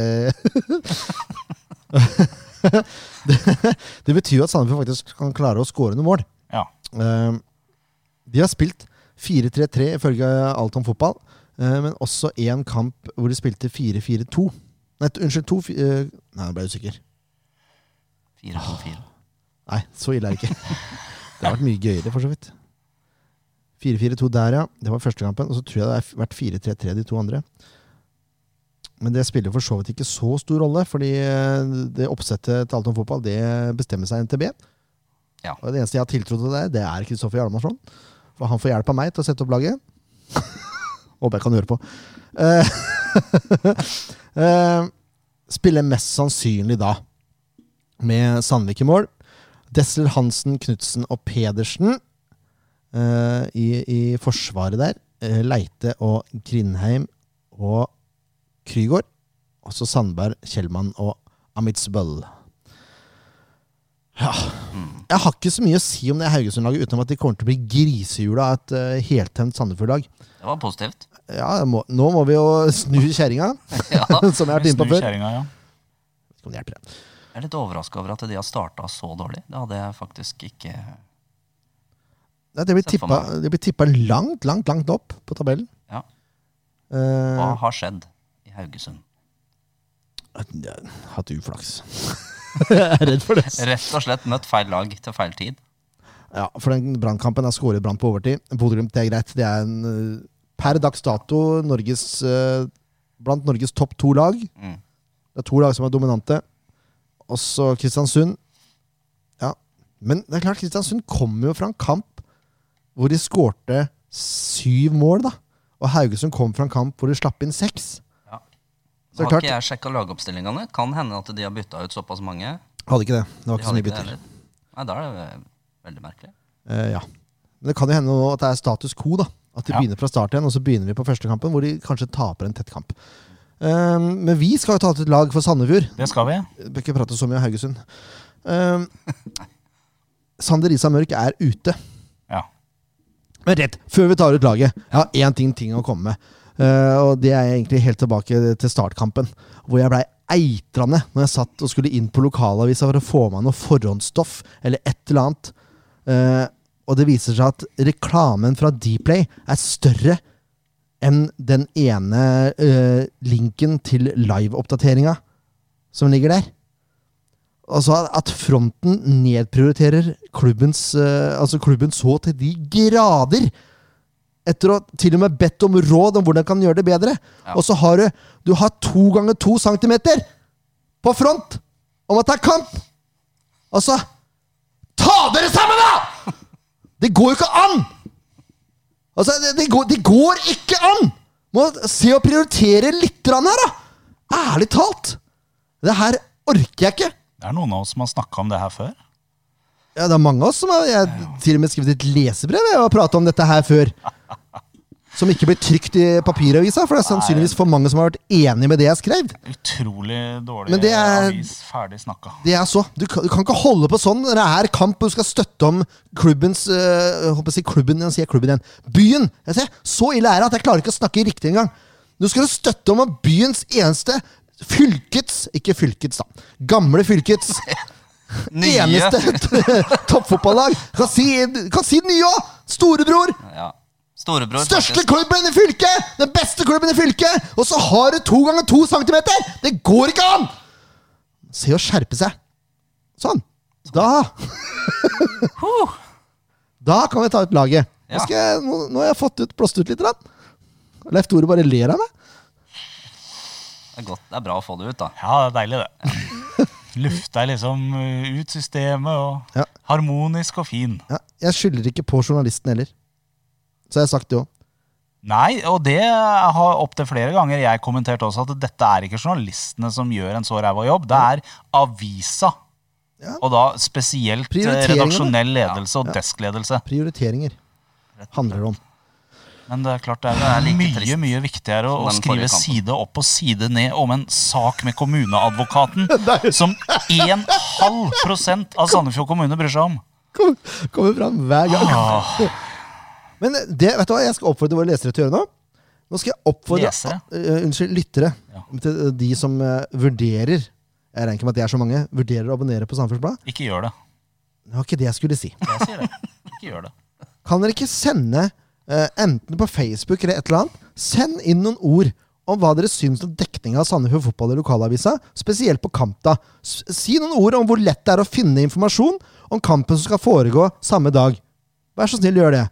Speaker 1: [LAUGHS] det, det betyr jo at Sandefjord faktisk kan klare å skåre noen mål.
Speaker 2: ja.
Speaker 1: Eh, De har spilt 4-3-3 ifølge alt om fotball, eh, men også én kamp hvor de spilte 4-4-2. Nei, t- unnskyld, 2 Nei, nå ble jeg usikker.
Speaker 3: 4-2-4.
Speaker 1: Nei, så ille er det ikke. [LAUGHS] Det har vært mye gøyere, for så vidt. 4-4-2 der, ja. Det var første kampen. Og så tror jeg det har f- vært 4-3-3 de to andre. Men det spiller for så vidt ikke så stor rolle, fordi eh, det oppsettet til alt om fotball, det bestemmer seg NTB.
Speaker 3: Ja.
Speaker 1: Og det eneste jeg har tiltro til der, det er Kristoffer Hjalmarsson. For han får hjelp av meg til å sette opp laget. [LAUGHS] Håper jeg kan høre på. Eh, [LAUGHS] eh, Spiller mest sannsynlig da med Sandvik i mål. Dessel Hansen, Knutsen og Pedersen eh, i, i forsvaret der. Eh, Leite og Grindheim og Krygård. Og så Sandberg, Kjellmann og Amitsbøll. Ja. Jeg har ikke så mye å si om det Haugesund-laget, utenom at de kommer til å bli grisehjula av et uh, heltent Sandefjord-lag.
Speaker 3: det var positivt.
Speaker 1: Ja, jeg må, nå må vi jo snu kjerringa,
Speaker 3: Ja.
Speaker 1: [LAUGHS] som jeg har vært inne på
Speaker 2: Snu
Speaker 1: før.
Speaker 2: kjerringa, ja.
Speaker 1: Vet ikke om det hjelper, det.
Speaker 3: Jeg er litt overraska over at de har starta så dårlig. Det hadde jeg faktisk ikke
Speaker 1: Nei, det blir
Speaker 3: Se for
Speaker 1: tippa, det blir tippa langt, langt, langt opp på tabellen.
Speaker 3: Ja.
Speaker 1: Eh,
Speaker 3: Hva har skjedd i Haugesund?
Speaker 1: Jeg har Hatt uflaks. jeg [LAUGHS] er redd for det.
Speaker 3: Rett og slett møtt feil lag til feil tid.
Speaker 1: Ja, for den brannkampen er skåret brann på overtid. Bodø-Glimt, det er greit. Det er en, eh, per dags dato Norges, eh, blant Norges topp to lag.
Speaker 3: Mm.
Speaker 1: Det er to lag som er dominante. Også Kristiansund. Ja, men det er klart Kristiansund kommer jo fra en kamp hvor de skårte syv mål, da. Og Haugesund kom fra en kamp hvor de slapp inn seks.
Speaker 3: Ja.
Speaker 1: Så det er
Speaker 3: har
Speaker 1: klart,
Speaker 3: ikke jeg sjekka lagoppstillingene? Kan hende at de har bytta ut såpass mange.
Speaker 1: hadde ikke det. Det var
Speaker 3: De
Speaker 1: ikke så
Speaker 3: hadde
Speaker 1: mye
Speaker 3: ikke det
Speaker 1: bytter.
Speaker 3: heller. Nei, da er det veldig merkelig.
Speaker 1: Eh, ja. Men det kan jo hende nå at det er status quo. da At de
Speaker 2: Ja.
Speaker 1: begynner fra start igjen, og så begynner vi på første kampen, hvor de kanskje taper en tett kamp. Eh, men vi skal jo ta ut et lag for Sandefjord.
Speaker 2: Det skal vi.
Speaker 1: Jeg Bør ikke prate så mye om Haugesund. Eh, Sander Isa Mørk er ute.
Speaker 2: Ja.
Speaker 1: Men rett før vi tar ut laget, jeg har én ting, ting å komme med. Eh, og det er egentlig helt tilbake til startkampen, hvor jeg blei eitrende når jeg satt og skulle inn på lokalavisa for å få meg noe forhåndsstoff eller et eller annet. Eh, og det viser seg at reklamen fra Dplay er større enn den ene eh, linken til liveoppdateringa som ligger der. Altså at- at fronten nedprioriterer klubbens, eh, altså klubben så til de grader etter å til og med bedt om råd om hvordan kan gjøre det bedre.
Speaker 3: Ja.
Speaker 1: Og så har du du har to ganger to centimeter på front om at det er kamp! Altså Ta dere sammen, da! Det går jo ikke an! Altså, det, det, går, det går ikke an! Må se og prioritere litt grann her, da! Ærlig talt! Det her orker jeg ikke.
Speaker 2: Det er noen av oss som har snakka om det her før.
Speaker 1: Ja, det er mange av oss som har jeg, har til og med skrevet et lesebrev jeg, og prata om dette her før. Som ikke blir trykt i papiravisa, for det er sannsynligvis for mange som har vært enig med det jeg skrev.
Speaker 2: Utrolig dårlig
Speaker 1: Men det er-
Speaker 2: avis. Ferdig snakka.
Speaker 1: Det er så. Du kan, du kan ikke holde på sånn når det er kamp og du skal støtte om klubbens øh, jeg håper å si klubben, nå sier jeg klubben igjen. Byen! Jeg ser, så ille er det at jeg klarer ikke å snakke riktig engang. Nå skal du støtte om at byens eneste Fylkets Ikke fylkets, da. Gamle fylkets eneste [LAUGHS] toppfotballag. Kan si, kan si den nye òg! Storebror!
Speaker 3: Ja. Storebror.
Speaker 1: Største
Speaker 3: faktisk.
Speaker 1: klubben i fylket! Den beste klubben i fylket! Og så har du to ganger to centimeter! Det går ikke an! Se å skjerpe seg. Sånn. Da
Speaker 3: Huh.
Speaker 1: Da kan vi ta ut laget. Nå,
Speaker 3: Ja.
Speaker 1: skal jeg, nå, nå har jeg fått ut, blåst ut litt. grann. Leif Tore bare ler av meg.
Speaker 3: Det er godt. Det er bra å få det ut, da.
Speaker 2: Ja, det er deilig,
Speaker 1: [LAUGHS]
Speaker 2: det. Lufta er liksom uh, ut systemet og
Speaker 1: Ja.
Speaker 2: harmonisk og fin.
Speaker 1: Ja, jeg skylder ikke på journalisten heller. Så har jeg sagt det òg.
Speaker 2: Nei, og det har opptil flere ganger jeg kommentert også, at dette er ikke journalistene som gjør en så ræva jobb. Det er avisa.
Speaker 1: Ja.
Speaker 2: Og da spesielt eh,
Speaker 1: Prioriteringene.
Speaker 2: redaksjonell ledelse og deskledelse.
Speaker 1: Prioriteringer handler det om.
Speaker 2: Men det er klart det er,
Speaker 3: Det er like
Speaker 2: mye
Speaker 3: trist
Speaker 2: mye viktigere å, å
Speaker 3: som den
Speaker 2: skrive
Speaker 3: forrige kampen.
Speaker 2: side opp og side ned om en sak med
Speaker 1: [LAUGHS]
Speaker 2: kommuneadvokaten som 1,5 av Sandefjord kommune bryr seg om.
Speaker 1: Kommer, kommer fram hver gang.
Speaker 2: Ah.
Speaker 1: Men det, vet du hva jeg skal oppfordre våre lesere til å gjøre nå? Nå skal jeg oppfordre
Speaker 2: Lesere?
Speaker 1: Eh, unnskyld, lyttere.
Speaker 2: Ja.
Speaker 1: Til eh, de som eh, vurderer Jeg regner ikke med at det er så mange. Vurderer å abonnere på Samferdselsbladet.
Speaker 2: Ikke gjør det.
Speaker 1: Det var ikke det jeg skulle si.
Speaker 2: Jeg sier det. Ikke gjør det.
Speaker 1: Kan dere ikke sende, eh, enten på Facebook eller et eller annet, send inn noen ord om hva dere syns om dekninga av Sandefjord Fotball i lokalavisa, spesielt på Kampta. S si noen ord om hvor lett det er å finne informasjon om kampen som skal foregå samme dag. Vær så snill, gjør det.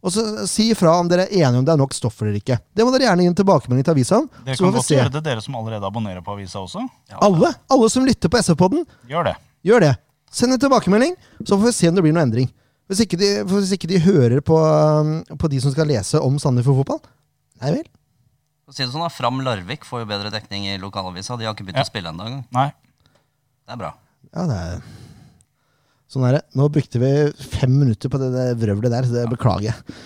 Speaker 1: Og så eh, si ifra om dere er enige om det er nok stoff eller ikke. Det må dere gjerne gi en tilbakemelding til avisa om.
Speaker 2: Dere
Speaker 1: Så får
Speaker 2: kan
Speaker 1: vi
Speaker 2: godt
Speaker 1: se.
Speaker 2: gjøre det, dere som allerede abonnerer på avisa også.
Speaker 1: Alle, alle som lytter på SV-podden,
Speaker 2: Gjør det.
Speaker 1: Gjør det. Send en tilbakemelding, så får vi se om det blir noen endring. Hvis ikke de, for hvis ikke de hører på, um, på de som skal lese om Sandefjord fotball Nei vel.
Speaker 3: For å si det sånn da, Fram Larvik får jo bedre dekning i lokalavisa. De har ikke begynt
Speaker 2: Ja.
Speaker 3: å spille ennå engang.
Speaker 2: Nei.
Speaker 3: Det er bra.
Speaker 1: Ja, det er Sånn er det. Nå brukte vi fem minutter på det der vrøvlet der, så det beklager jeg.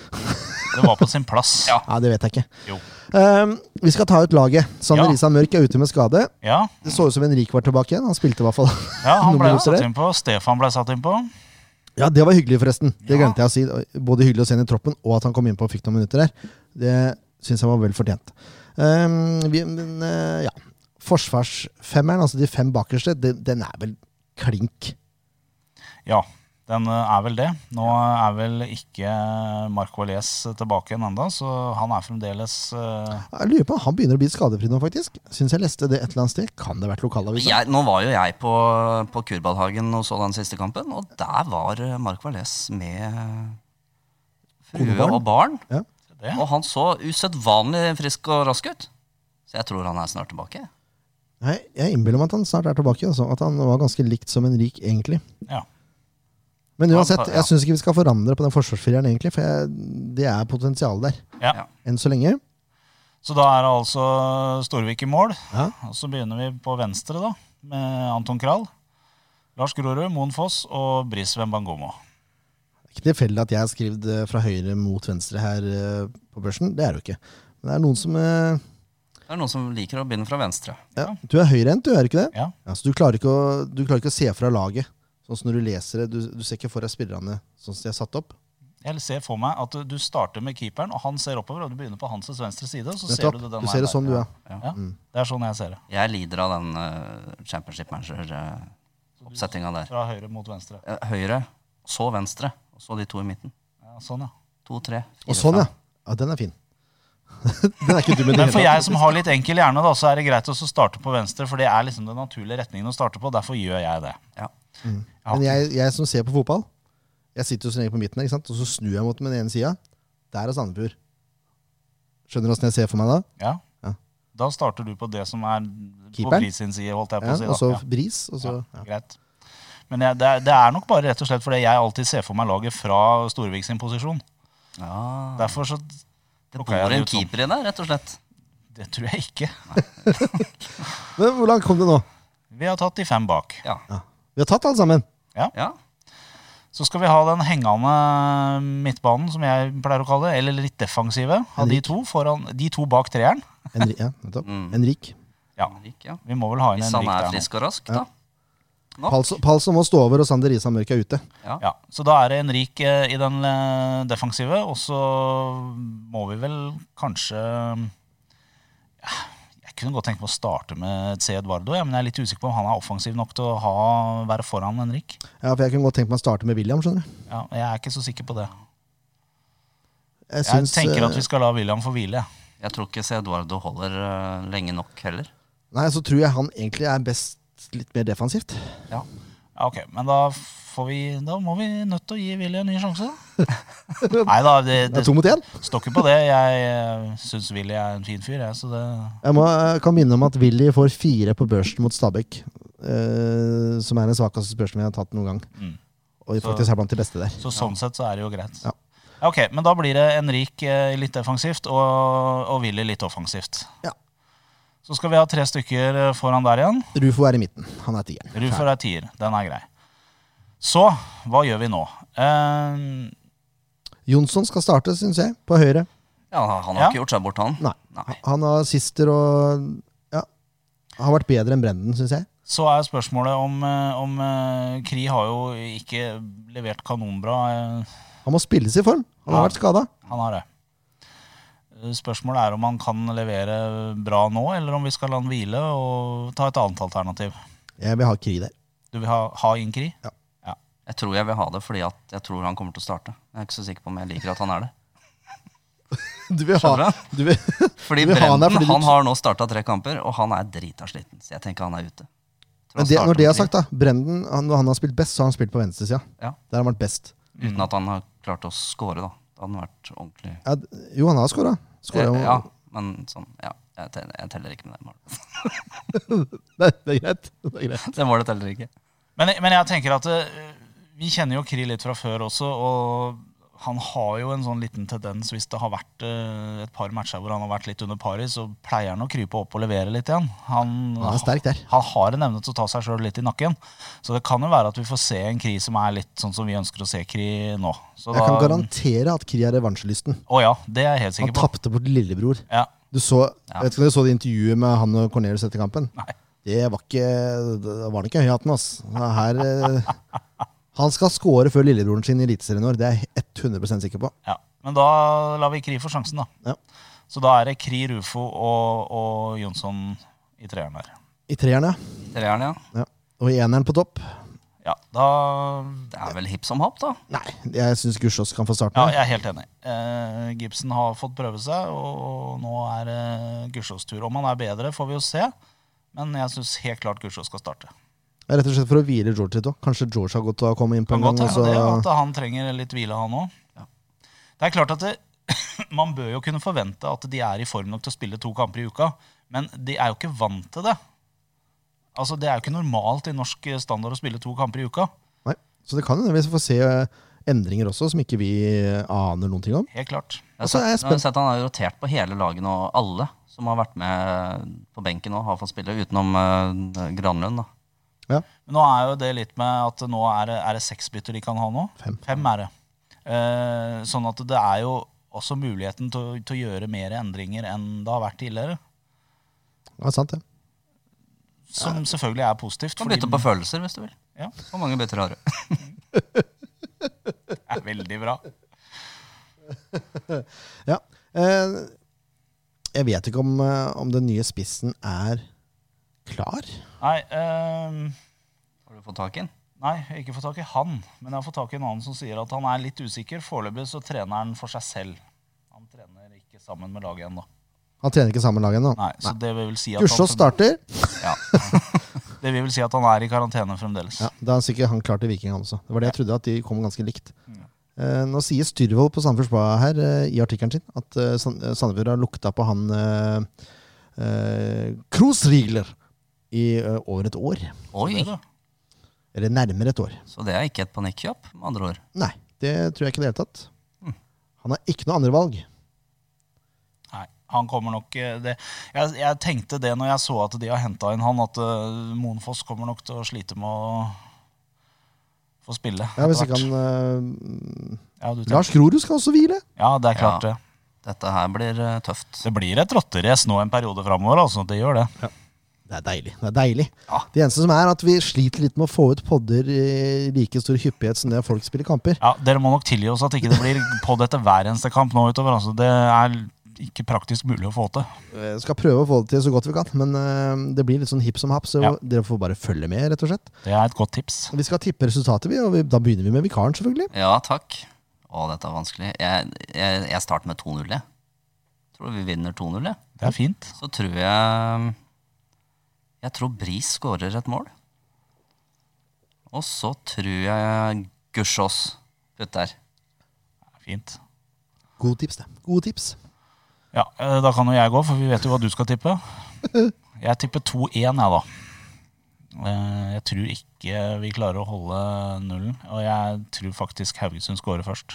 Speaker 2: Det var på sin plass.
Speaker 3: Ja.
Speaker 1: Ja, det vet jeg ikke.
Speaker 2: Jo.
Speaker 1: Um, vi skal ta ut laget. Sander
Speaker 2: Ja.
Speaker 1: Isan Mørk er ute med skade.
Speaker 2: Ja,
Speaker 1: Det så ut som Henrik var tilbake igjen. Han spilte i hvert fall.
Speaker 2: ja han ble
Speaker 1: [LAUGHS] Nummer
Speaker 2: satt
Speaker 1: der.
Speaker 2: innpå. Stefan ble satt innpå.
Speaker 1: Ja, det var hyggelig, forresten. Det
Speaker 2: Ja.
Speaker 1: glemte jeg å si. Både hyggelig å se ham i troppen, og at han kom innpå og fikk noen minutter der. Det syns jeg var vel fortjent. Um, vi, men eh, ja. Forsvarsfemmeren, altså de fem bakerste, den, den er vel klink.
Speaker 2: Ja, den eh, er vel det. Nå er vel ikke Marc Valais tilbake igjen ennå, så han er fremdeles eh,
Speaker 1: Jeg lurer på, Han begynner å bli skadefri nå, faktisk. Syns jeg leste det et eller annet sted. Kan det ha vært lokalavisa?
Speaker 3: Jeg, nå var jo jeg på, på Kurbadhagen og så den siste kampen, og der var eh, Mark Valles med eh,
Speaker 1: Kone og
Speaker 3: frue
Speaker 1: barn.
Speaker 3: og barn.
Speaker 2: det.
Speaker 3: Og han så usedvanlig frisk og rask ut. Så jeg tror han er snart tilbake.
Speaker 1: Nei, Jeg innbiller meg at han snart er tilbake. Altså, at han var ganske likt som Henrik, egentlig.
Speaker 2: Ja.
Speaker 1: Men uansett,
Speaker 3: Ja.
Speaker 1: jeg syns ikke vi skal forandre på den forsvarsfireren, egentlig. For jeg, det er potensial der.
Speaker 2: ja.
Speaker 3: Ja.
Speaker 1: Enn så lenge.
Speaker 2: Så da er det altså Storvik i mål.
Speaker 1: Ja.
Speaker 2: Og så begynner vi på venstre, da, med Anton Krall. Lars Grorud, Moen Foss og Brisveen Bangomo.
Speaker 1: Det er ikke tilfeldig at jeg har skrevet eh, fra høyre mot venstre her eh, på børsen. Det er det jo ikke. Men det er noen som eh,
Speaker 3: Det er noen som liker å begynne fra venstre.
Speaker 1: ja, Du er høyrehendt, du er ikke det?
Speaker 2: Ja.
Speaker 1: så du klarer ikke, å, du klarer ikke å se fra laget. Sånn som når du leser det. Du, du ser ikke for deg spillerne sånn som de er satt opp.
Speaker 2: Jeg ser for meg at du- du starter med keeperen, og han ser oppover, og du begynner på hans venstre side, og så ser
Speaker 1: Nettopp.
Speaker 2: du det
Speaker 1: Du,
Speaker 2: den veien
Speaker 1: ser det
Speaker 2: der.
Speaker 1: sånn du er.
Speaker 2: Ja, det er sånn jeg ser det.
Speaker 3: Jeg lider av den eh, championship manager-oppsettinga der.
Speaker 2: Fra høyre mot venstre.
Speaker 3: Eh, Høyre, så venstre, og så de to i midten.
Speaker 2: Ja, sånn, ja.
Speaker 3: To, tre, fire,
Speaker 1: Og sånn, ja.
Speaker 3: fem.
Speaker 1: ja den er fin. [LAUGHS] den er ikke dum i det
Speaker 2: Men for
Speaker 1: hele
Speaker 2: jeg som har litt enkel hjerne, da, så er det greit å så starte på venstre, for det er liksom den naturlige retningen å starte på. Derfor gjør jeg det.
Speaker 3: Ja.
Speaker 2: Ja.
Speaker 1: Men jeg, jeg som ser på fotball, jeg sitter jo som regel på midten, ikke sant? og så snur jeg mot den ene sida. Der er Sandefjord. Skjønner du åssen jeg ser for meg da?
Speaker 2: Ja.
Speaker 1: Ja.
Speaker 2: Da starter du på det som er på
Speaker 1: Keeperen?
Speaker 2: Bris sin side, holdt jeg på
Speaker 1: Ja,
Speaker 2: å si. da.
Speaker 1: og så
Speaker 2: Ja.
Speaker 1: bris, og så ja.
Speaker 2: ja. greit. Men jeg, det, er, det er nok bare rett og slett fordi jeg alltid ser for meg laget fra Storvik sin posisjon.
Speaker 3: Ja.
Speaker 2: Derfor så
Speaker 3: Det
Speaker 2: plukker jeg
Speaker 3: bor
Speaker 2: det
Speaker 3: en
Speaker 2: ut sånn.
Speaker 3: keeper i det, rett og slett.
Speaker 2: Det tror jeg ikke.
Speaker 1: Men hvor langt kom det nå?
Speaker 2: Vi har tatt de fem bak.
Speaker 3: Ja.
Speaker 1: Ja. Vi har tatt alle sammen.
Speaker 3: ja.
Speaker 2: Så skal vi ha den hengende midtbanen, som jeg pleier å kalle det. Eller litt defensive av de
Speaker 1: Henrik.
Speaker 2: to, foran, de to bak treeren.
Speaker 1: Henri, ja, nettopp.
Speaker 3: Mm.
Speaker 1: Henrik.
Speaker 2: Ja,
Speaker 3: Henrik, ja.
Speaker 2: Vi må vel ha inn
Speaker 3: Hvis
Speaker 2: en
Speaker 3: han
Speaker 2: rik
Speaker 3: er
Speaker 2: der nå.
Speaker 3: frisk og rask, da. Ja.
Speaker 1: Palso Palso må stå over, og Sander Risa Mørk er ute.
Speaker 2: Ja, så da er det en rik eh, i den eh, defensive, og så må vi vel kanskje ja, Jeg kunne godt tenkt meg å starte med C. Eduardo, ja, men jeg er litt usikker på om han er offensiv nok til å ha, være foran Henrik.
Speaker 1: Ja, for Jeg kunne godt tenkt meg å starte med William. skjønner du
Speaker 2: Ja, jeg er ikke så sikker på det.
Speaker 1: Jeg,
Speaker 2: Jeg
Speaker 1: syns,
Speaker 2: tenker at
Speaker 1: eh,
Speaker 2: vi skal la William få hvile.
Speaker 3: Jeg tror ikke C. Eduardo holder eh, lenge nok heller.
Speaker 1: Nei, Så tror jeg han egentlig er best litt mer defensivt.
Speaker 2: Ja, ok, Men da, får vi, da må vi nødt til å gi Willy en ny
Speaker 1: [LAUGHS]
Speaker 2: sjanse. Nei da, det,
Speaker 1: Det
Speaker 2: det
Speaker 1: er to mot én.
Speaker 2: står ikke på det. Jeg eh, syns Willy er en fin fyr, jeg, så det
Speaker 1: Jeg må, jeg kan minne om at Willy får fire på børsen mot Stabæk. eh, som er den svakeste børsen vi har tatt noen gang.
Speaker 2: Mm.
Speaker 1: Og
Speaker 2: Så-
Speaker 1: faktisk er blant de beste der.
Speaker 2: Så sånn sett så er det jo greit.
Speaker 1: Ja.
Speaker 2: Ja, Ok, men da blir det Henrik eh, litt defensivt og, og Willy litt offensivt.
Speaker 1: Ja.
Speaker 2: Så skal vi ha tre stykker eh, foran der igjen.
Speaker 1: Rufo er i midten. Han er tigeren.
Speaker 2: Rufer er tier. Den er grei. Så hva gjør vi nå? Eh,
Speaker 1: Jonsson skal starte, syns jeg, på høyre.
Speaker 3: Ja, Han har
Speaker 2: Ja.
Speaker 3: ikke gjort seg bort, han.
Speaker 1: Nei.
Speaker 3: Nei.
Speaker 1: Han har sister og ja, har vært bedre enn Brenden, syns jeg.
Speaker 2: så er spørsmålet om, eh, om eh, Kri har jo ikke levert kanonbra. eh,
Speaker 1: Han må spilles i form. Han har
Speaker 2: Ja.
Speaker 1: vært skada.
Speaker 2: Han har det. Eh, Spørsmålet er om han kan levere bra nå, eller om vi skal la han hvile og ta et annet alternativ.
Speaker 1: Jeg vil ha Kri der.
Speaker 2: Du vil ha, ha inn Kri?
Speaker 3: Jeg tror jeg vil ha det fordi at jeg tror han kommer til å starte. Jeg er ikke så sikker på om jeg liker at han er det.
Speaker 1: Du vil
Speaker 3: Skjønner
Speaker 1: du vil,
Speaker 3: Fordi
Speaker 1: Du vil ha han der
Speaker 3: Brenden
Speaker 1: fordi du-
Speaker 3: han har nå starta tre kamper, og han er drita sliten. Så jeg tenker han er ute. Tror
Speaker 1: Men
Speaker 3: han
Speaker 1: det,
Speaker 3: starter
Speaker 1: når det
Speaker 3: med
Speaker 1: er sagt, da. Brenden, han, når han har spilt best, så har han spilt på venstresida.
Speaker 3: Ja.
Speaker 1: Der har han vært best.
Speaker 3: Kri, Uten at han har klart å score, da. Da hadde han vært ordentlig Eh,
Speaker 1: Ja, d- jo, han har skåra.
Speaker 3: Ja, men sånn, ja. Jeg teller, jeg teller ikke med det målet. [LAUGHS]
Speaker 1: Det, det er greit. Det er greit.
Speaker 3: Det målet teller ikke.
Speaker 2: Men, men jeg tenker at eh, vi kjenner jo Kri litt fra før også, og han har jo en sånn liten tendens hvis det har vært eh, et par matcher hvor han har vært litt under pari, så pleier han å krype opp og levere litt igjen. Han,
Speaker 1: Han er sterk der.
Speaker 2: han har en evne til å ta seg sjøl litt i nakken. Så det kan jo være at vi får se en Kri som er litt sånn som vi ønsker å se Kri nå. Så
Speaker 1: Jeg kan
Speaker 2: da-
Speaker 1: garantere at Kri har revansjelysten.
Speaker 2: Å ja, det er jeg helt
Speaker 1: Han
Speaker 2: sikker på.
Speaker 1: tapte bort lillebror.
Speaker 2: Ja.
Speaker 1: Du så,
Speaker 3: Ja.
Speaker 1: Jeg vet ikke om du så det intervjuet med han og Cornelius etter kampen?
Speaker 2: Nei.
Speaker 1: Det var ikke Da var han ikke høy i hatten, ass. Her, eh, han skal score før lillebroren sin i Eliteserien i år, det er jeg 100 sikker på.
Speaker 2: Ja, Men da lar vi Kri få sjansen, da.
Speaker 1: Ja.
Speaker 2: Så da er det Kri, Rufo og, og Jonsson i treeren der.
Speaker 1: I treeren, ja.
Speaker 3: Treeren, ja.
Speaker 1: ja. Og i eneren på topp.
Speaker 2: Ja, da
Speaker 3: Det er vel hipp som happ, da.
Speaker 1: Nei, jeg syns Gussiås kan få starten.
Speaker 2: Ja,
Speaker 1: her.
Speaker 2: jeg er helt enig. Eh, Gibson har fått prøve seg, og nå er det Gussiås tur. Om han er bedre, får vi jo se, men jeg syns helt klart Gussiås skal starte.
Speaker 1: Det er Rett og slett for å hvile George litt òg. Kanskje George har gått og kommet inn på
Speaker 2: Kan
Speaker 1: en gang. altså- Og
Speaker 2: godt
Speaker 1: så,
Speaker 2: hende det at han trenger litt hvile, han òg.
Speaker 3: Ja.
Speaker 2: Det er klart at det, [LAUGHS] man bør jo kunne forvente at de er i form nok til å spille to kamper i uka, men de er jo ikke vant til det. Altså, Det er jo ikke normalt i norsk standard å spille to kamper i uka.
Speaker 1: nei. så det kan hende vi får se eh, endringer også, som ikke vi eh, aner noen ting om.
Speaker 2: Helt klart.
Speaker 3: Jeg har,
Speaker 1: Altså,
Speaker 3: sett,
Speaker 1: jeg er
Speaker 3: jeg har
Speaker 1: spent.
Speaker 3: sett han har rotert på hele laget nå, alle som har vært med på benken og har fått spille, utenom eh, Granlund. da.
Speaker 2: Men nå er jo det litt med at nå er det, er det seks bytter de kan ha nå.
Speaker 1: Fem.
Speaker 2: er det. Eh, sånn at det er jo også muligheten til, å- til å gjøre mer endringer enn det har vært tidligere.
Speaker 1: Ja, sant det.
Speaker 2: Som selvfølgelig er positivt.
Speaker 3: Du kan bytte på følelser hvis du vil.
Speaker 2: Ja.
Speaker 3: Hvor mange bytter har du?
Speaker 2: det er veldig bra.
Speaker 1: Ja. Eh, jeg vet ikke om, eh, om den nye spissen er klar.
Speaker 2: Nei, eh,
Speaker 3: [LAUGHS] Har du fått tak i den?
Speaker 2: nei, jeg har ikke fått tak i han. Men jeg har fått tak i en annen som sier at han er litt usikker. Foreløpig så trener han for seg selv. Han trener ikke sammen med laget ennå.
Speaker 1: Han trener ikke sammen laget ennå.
Speaker 2: Nei, så det vil si at
Speaker 1: Gussiås
Speaker 2: han,
Speaker 1: starter.
Speaker 2: [LAUGHS] ja. Det vil si at han er i karantene fremdeles.
Speaker 1: Ja, da er sikkert han klar til Viking, han også. Det var det jeg trodde, at de kom ganske likt. Eh, nå sier Styrvold på Sandefjords Blad her eh, i artikkelen sin at eh, Sand- eh, Sandefjord har lukta på han uh, Krosrigler i eh, over et år.
Speaker 3: Oi!
Speaker 2: Det, da.
Speaker 1: Eller nærmere et år.
Speaker 3: Så det er ikke et panikkjøp, med andre ord.
Speaker 1: Nei, det tror jeg ikke i det hele tatt. Han har ikke noe andre valg.
Speaker 2: Nei, han kommer nok eh, det. Jeg, jeg tenkte det når jeg så at de har henta inn han, at eh, Monfoss kommer nok til å slite med å få spille.
Speaker 1: Ja, hvis
Speaker 2: etter
Speaker 1: ikke
Speaker 2: hvert.
Speaker 1: han eh,
Speaker 2: ja, du tenker-
Speaker 1: Lars Grorud skal også hvile.
Speaker 2: ja, det er klart
Speaker 3: Ja.
Speaker 2: det.
Speaker 3: Dette her blir eh, tøft.
Speaker 2: Det blir et rotterace nå en periode framover. Altså, det gjør det.
Speaker 1: Det er deilig. det er deilig.
Speaker 2: Ja.
Speaker 1: Det eneste som er at vi sliter litt med å få ut podder i like stor hyppighet som det folk spiller kamper.
Speaker 2: Ja, Dere må nok tilgi oss at ikke det blir podd etter hver eneste kamp nå utover. Altså, det er ikke praktisk mulig å få til.
Speaker 1: Eh, Skal prøve å få det til så godt vi kan, men eh, det blir litt sånn hipp som happ, så
Speaker 2: Ja.
Speaker 1: dere får bare følge med, rett og slett.
Speaker 2: Det er et godt tips.
Speaker 1: Vi skal tippe resultatet, vi, og vi, da begynner vi med vikaren, selvfølgelig.
Speaker 3: Ja, takk. Å, dette er vanskelig. Jeg, jeg, jeg starter med 2-0, jeg. Tror vi vinner 2-0, jeg.
Speaker 2: Det er fint.
Speaker 3: Så tror jeg Jeg tror Bris skårer et mål. Og så tror jeg Gussiås putter.
Speaker 2: fint.
Speaker 1: Gode tips, det. Gode tips. [LAUGHS]
Speaker 2: Ja, eh, Da kan jo jeg gå, for vi vet jo hva du skal tippe. Jeg tipper 2-1, jeg, da. Eh, Jeg tror ikke vi klarer å holde nullen. Og jeg tror faktisk Haugesund scorer først.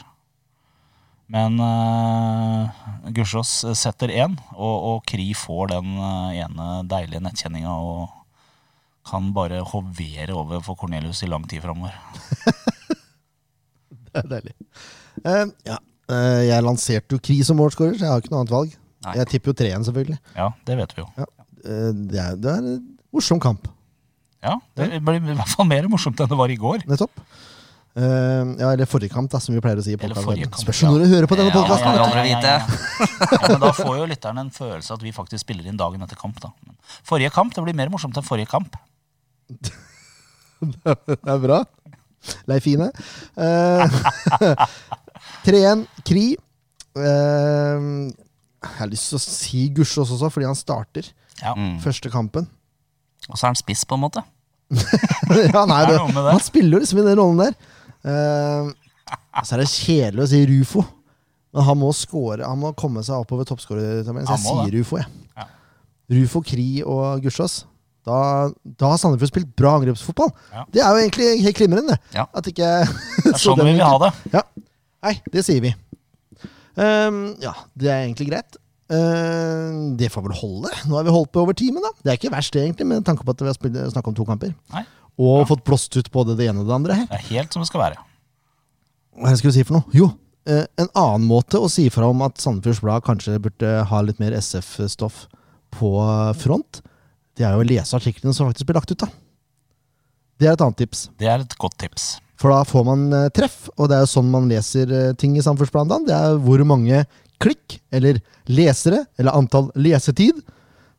Speaker 2: Men uh, Gussiås setter én, og, og Kri får den eh, ene deilige nettkjenninga og kan bare hovere over for Cornelius i lang tid framover.
Speaker 1: Det er deilig. Eh, ja. Eh, jeg lanserte jo Kri som målskårer, så jeg har ikke noe annet valg.
Speaker 3: Nei.
Speaker 1: Jeg tipper jo 3-1, selvfølgelig.
Speaker 2: Ja, det vet vi jo.
Speaker 1: Eh, det, er, det er en morsom kamp,
Speaker 2: Ja, Det blir i hvert fall mer morsomt enn det var i går.
Speaker 1: nettopp. Eh, ja, eller forrige kamp, da, som vi pleier å si. i
Speaker 2: Eller
Speaker 1: podcasten.
Speaker 2: forrige kamp,
Speaker 1: Spørs jo når du hører på denne
Speaker 3: Ja,
Speaker 1: podkasten!
Speaker 3: ja, aldri vite.
Speaker 2: ja. Men da får jo lytterne en følelse at vi faktisk spiller inn dagen etter kamp. da. Men Forrige kamp, Det blir mer morsomt enn forrige kamp.
Speaker 1: Det er bra. Leif Ine. Eh, [LAUGHS] 3-1 Kri. Eh, jeg har lyst til å si Gussiås også, fordi han starter
Speaker 2: Ja,
Speaker 3: Mm.
Speaker 1: første kampen. [LAUGHS]
Speaker 3: Og så er han spiss, på en måte.
Speaker 1: ja, nei,
Speaker 2: Det er
Speaker 1: det,
Speaker 2: noe med det.
Speaker 1: han spiller jo liksom i den rollen der. Eh, så er det kjedelig å si Rufo. Men han må score, han må komme seg oppover toppskårertabellen. Så
Speaker 2: Han
Speaker 1: jeg
Speaker 2: må
Speaker 1: sier Rufo, jeg.
Speaker 2: Ja.
Speaker 1: Rufo, Kri og Gussiås. Da, da har Sandefjord spilt bra angrepsfotball.
Speaker 2: Ja.
Speaker 1: Det er jo egentlig helt glimrende.
Speaker 3: Ja.
Speaker 1: At ikke [LAUGHS]
Speaker 2: Det er
Speaker 1: så
Speaker 2: sånn
Speaker 1: den
Speaker 2: vi vil
Speaker 1: ikke-
Speaker 2: ha det.
Speaker 1: Ja. Nei, det sier vi. Ehm, ja, det er egentlig greit. Ehm, det får vel holde. Nå har vi holdt på over timen, da. Det er ikke verst, egentlig, med tanke på at vi har spilt- snakket om to kamper.
Speaker 2: Nei,
Speaker 1: Og fått blåst ut både det ene og det andre her.
Speaker 2: Det er helt som det skal være.
Speaker 1: Hva er det jeg skulle si for noe? Jo, eh, en annen måte å si fra om at Sandefjords Blad kanskje burde ha litt mer SF-stoff på front, det er jo å lese artiklene som faktisk blir lagt ut, da. Det er et annet tips.
Speaker 2: Det er et godt tips.
Speaker 1: For da får man eh, treff, og det er jo sånn man leser eh, ting i samfunnsplanen. Det er hvor mange klikk, eller lesere, eller antall lesetid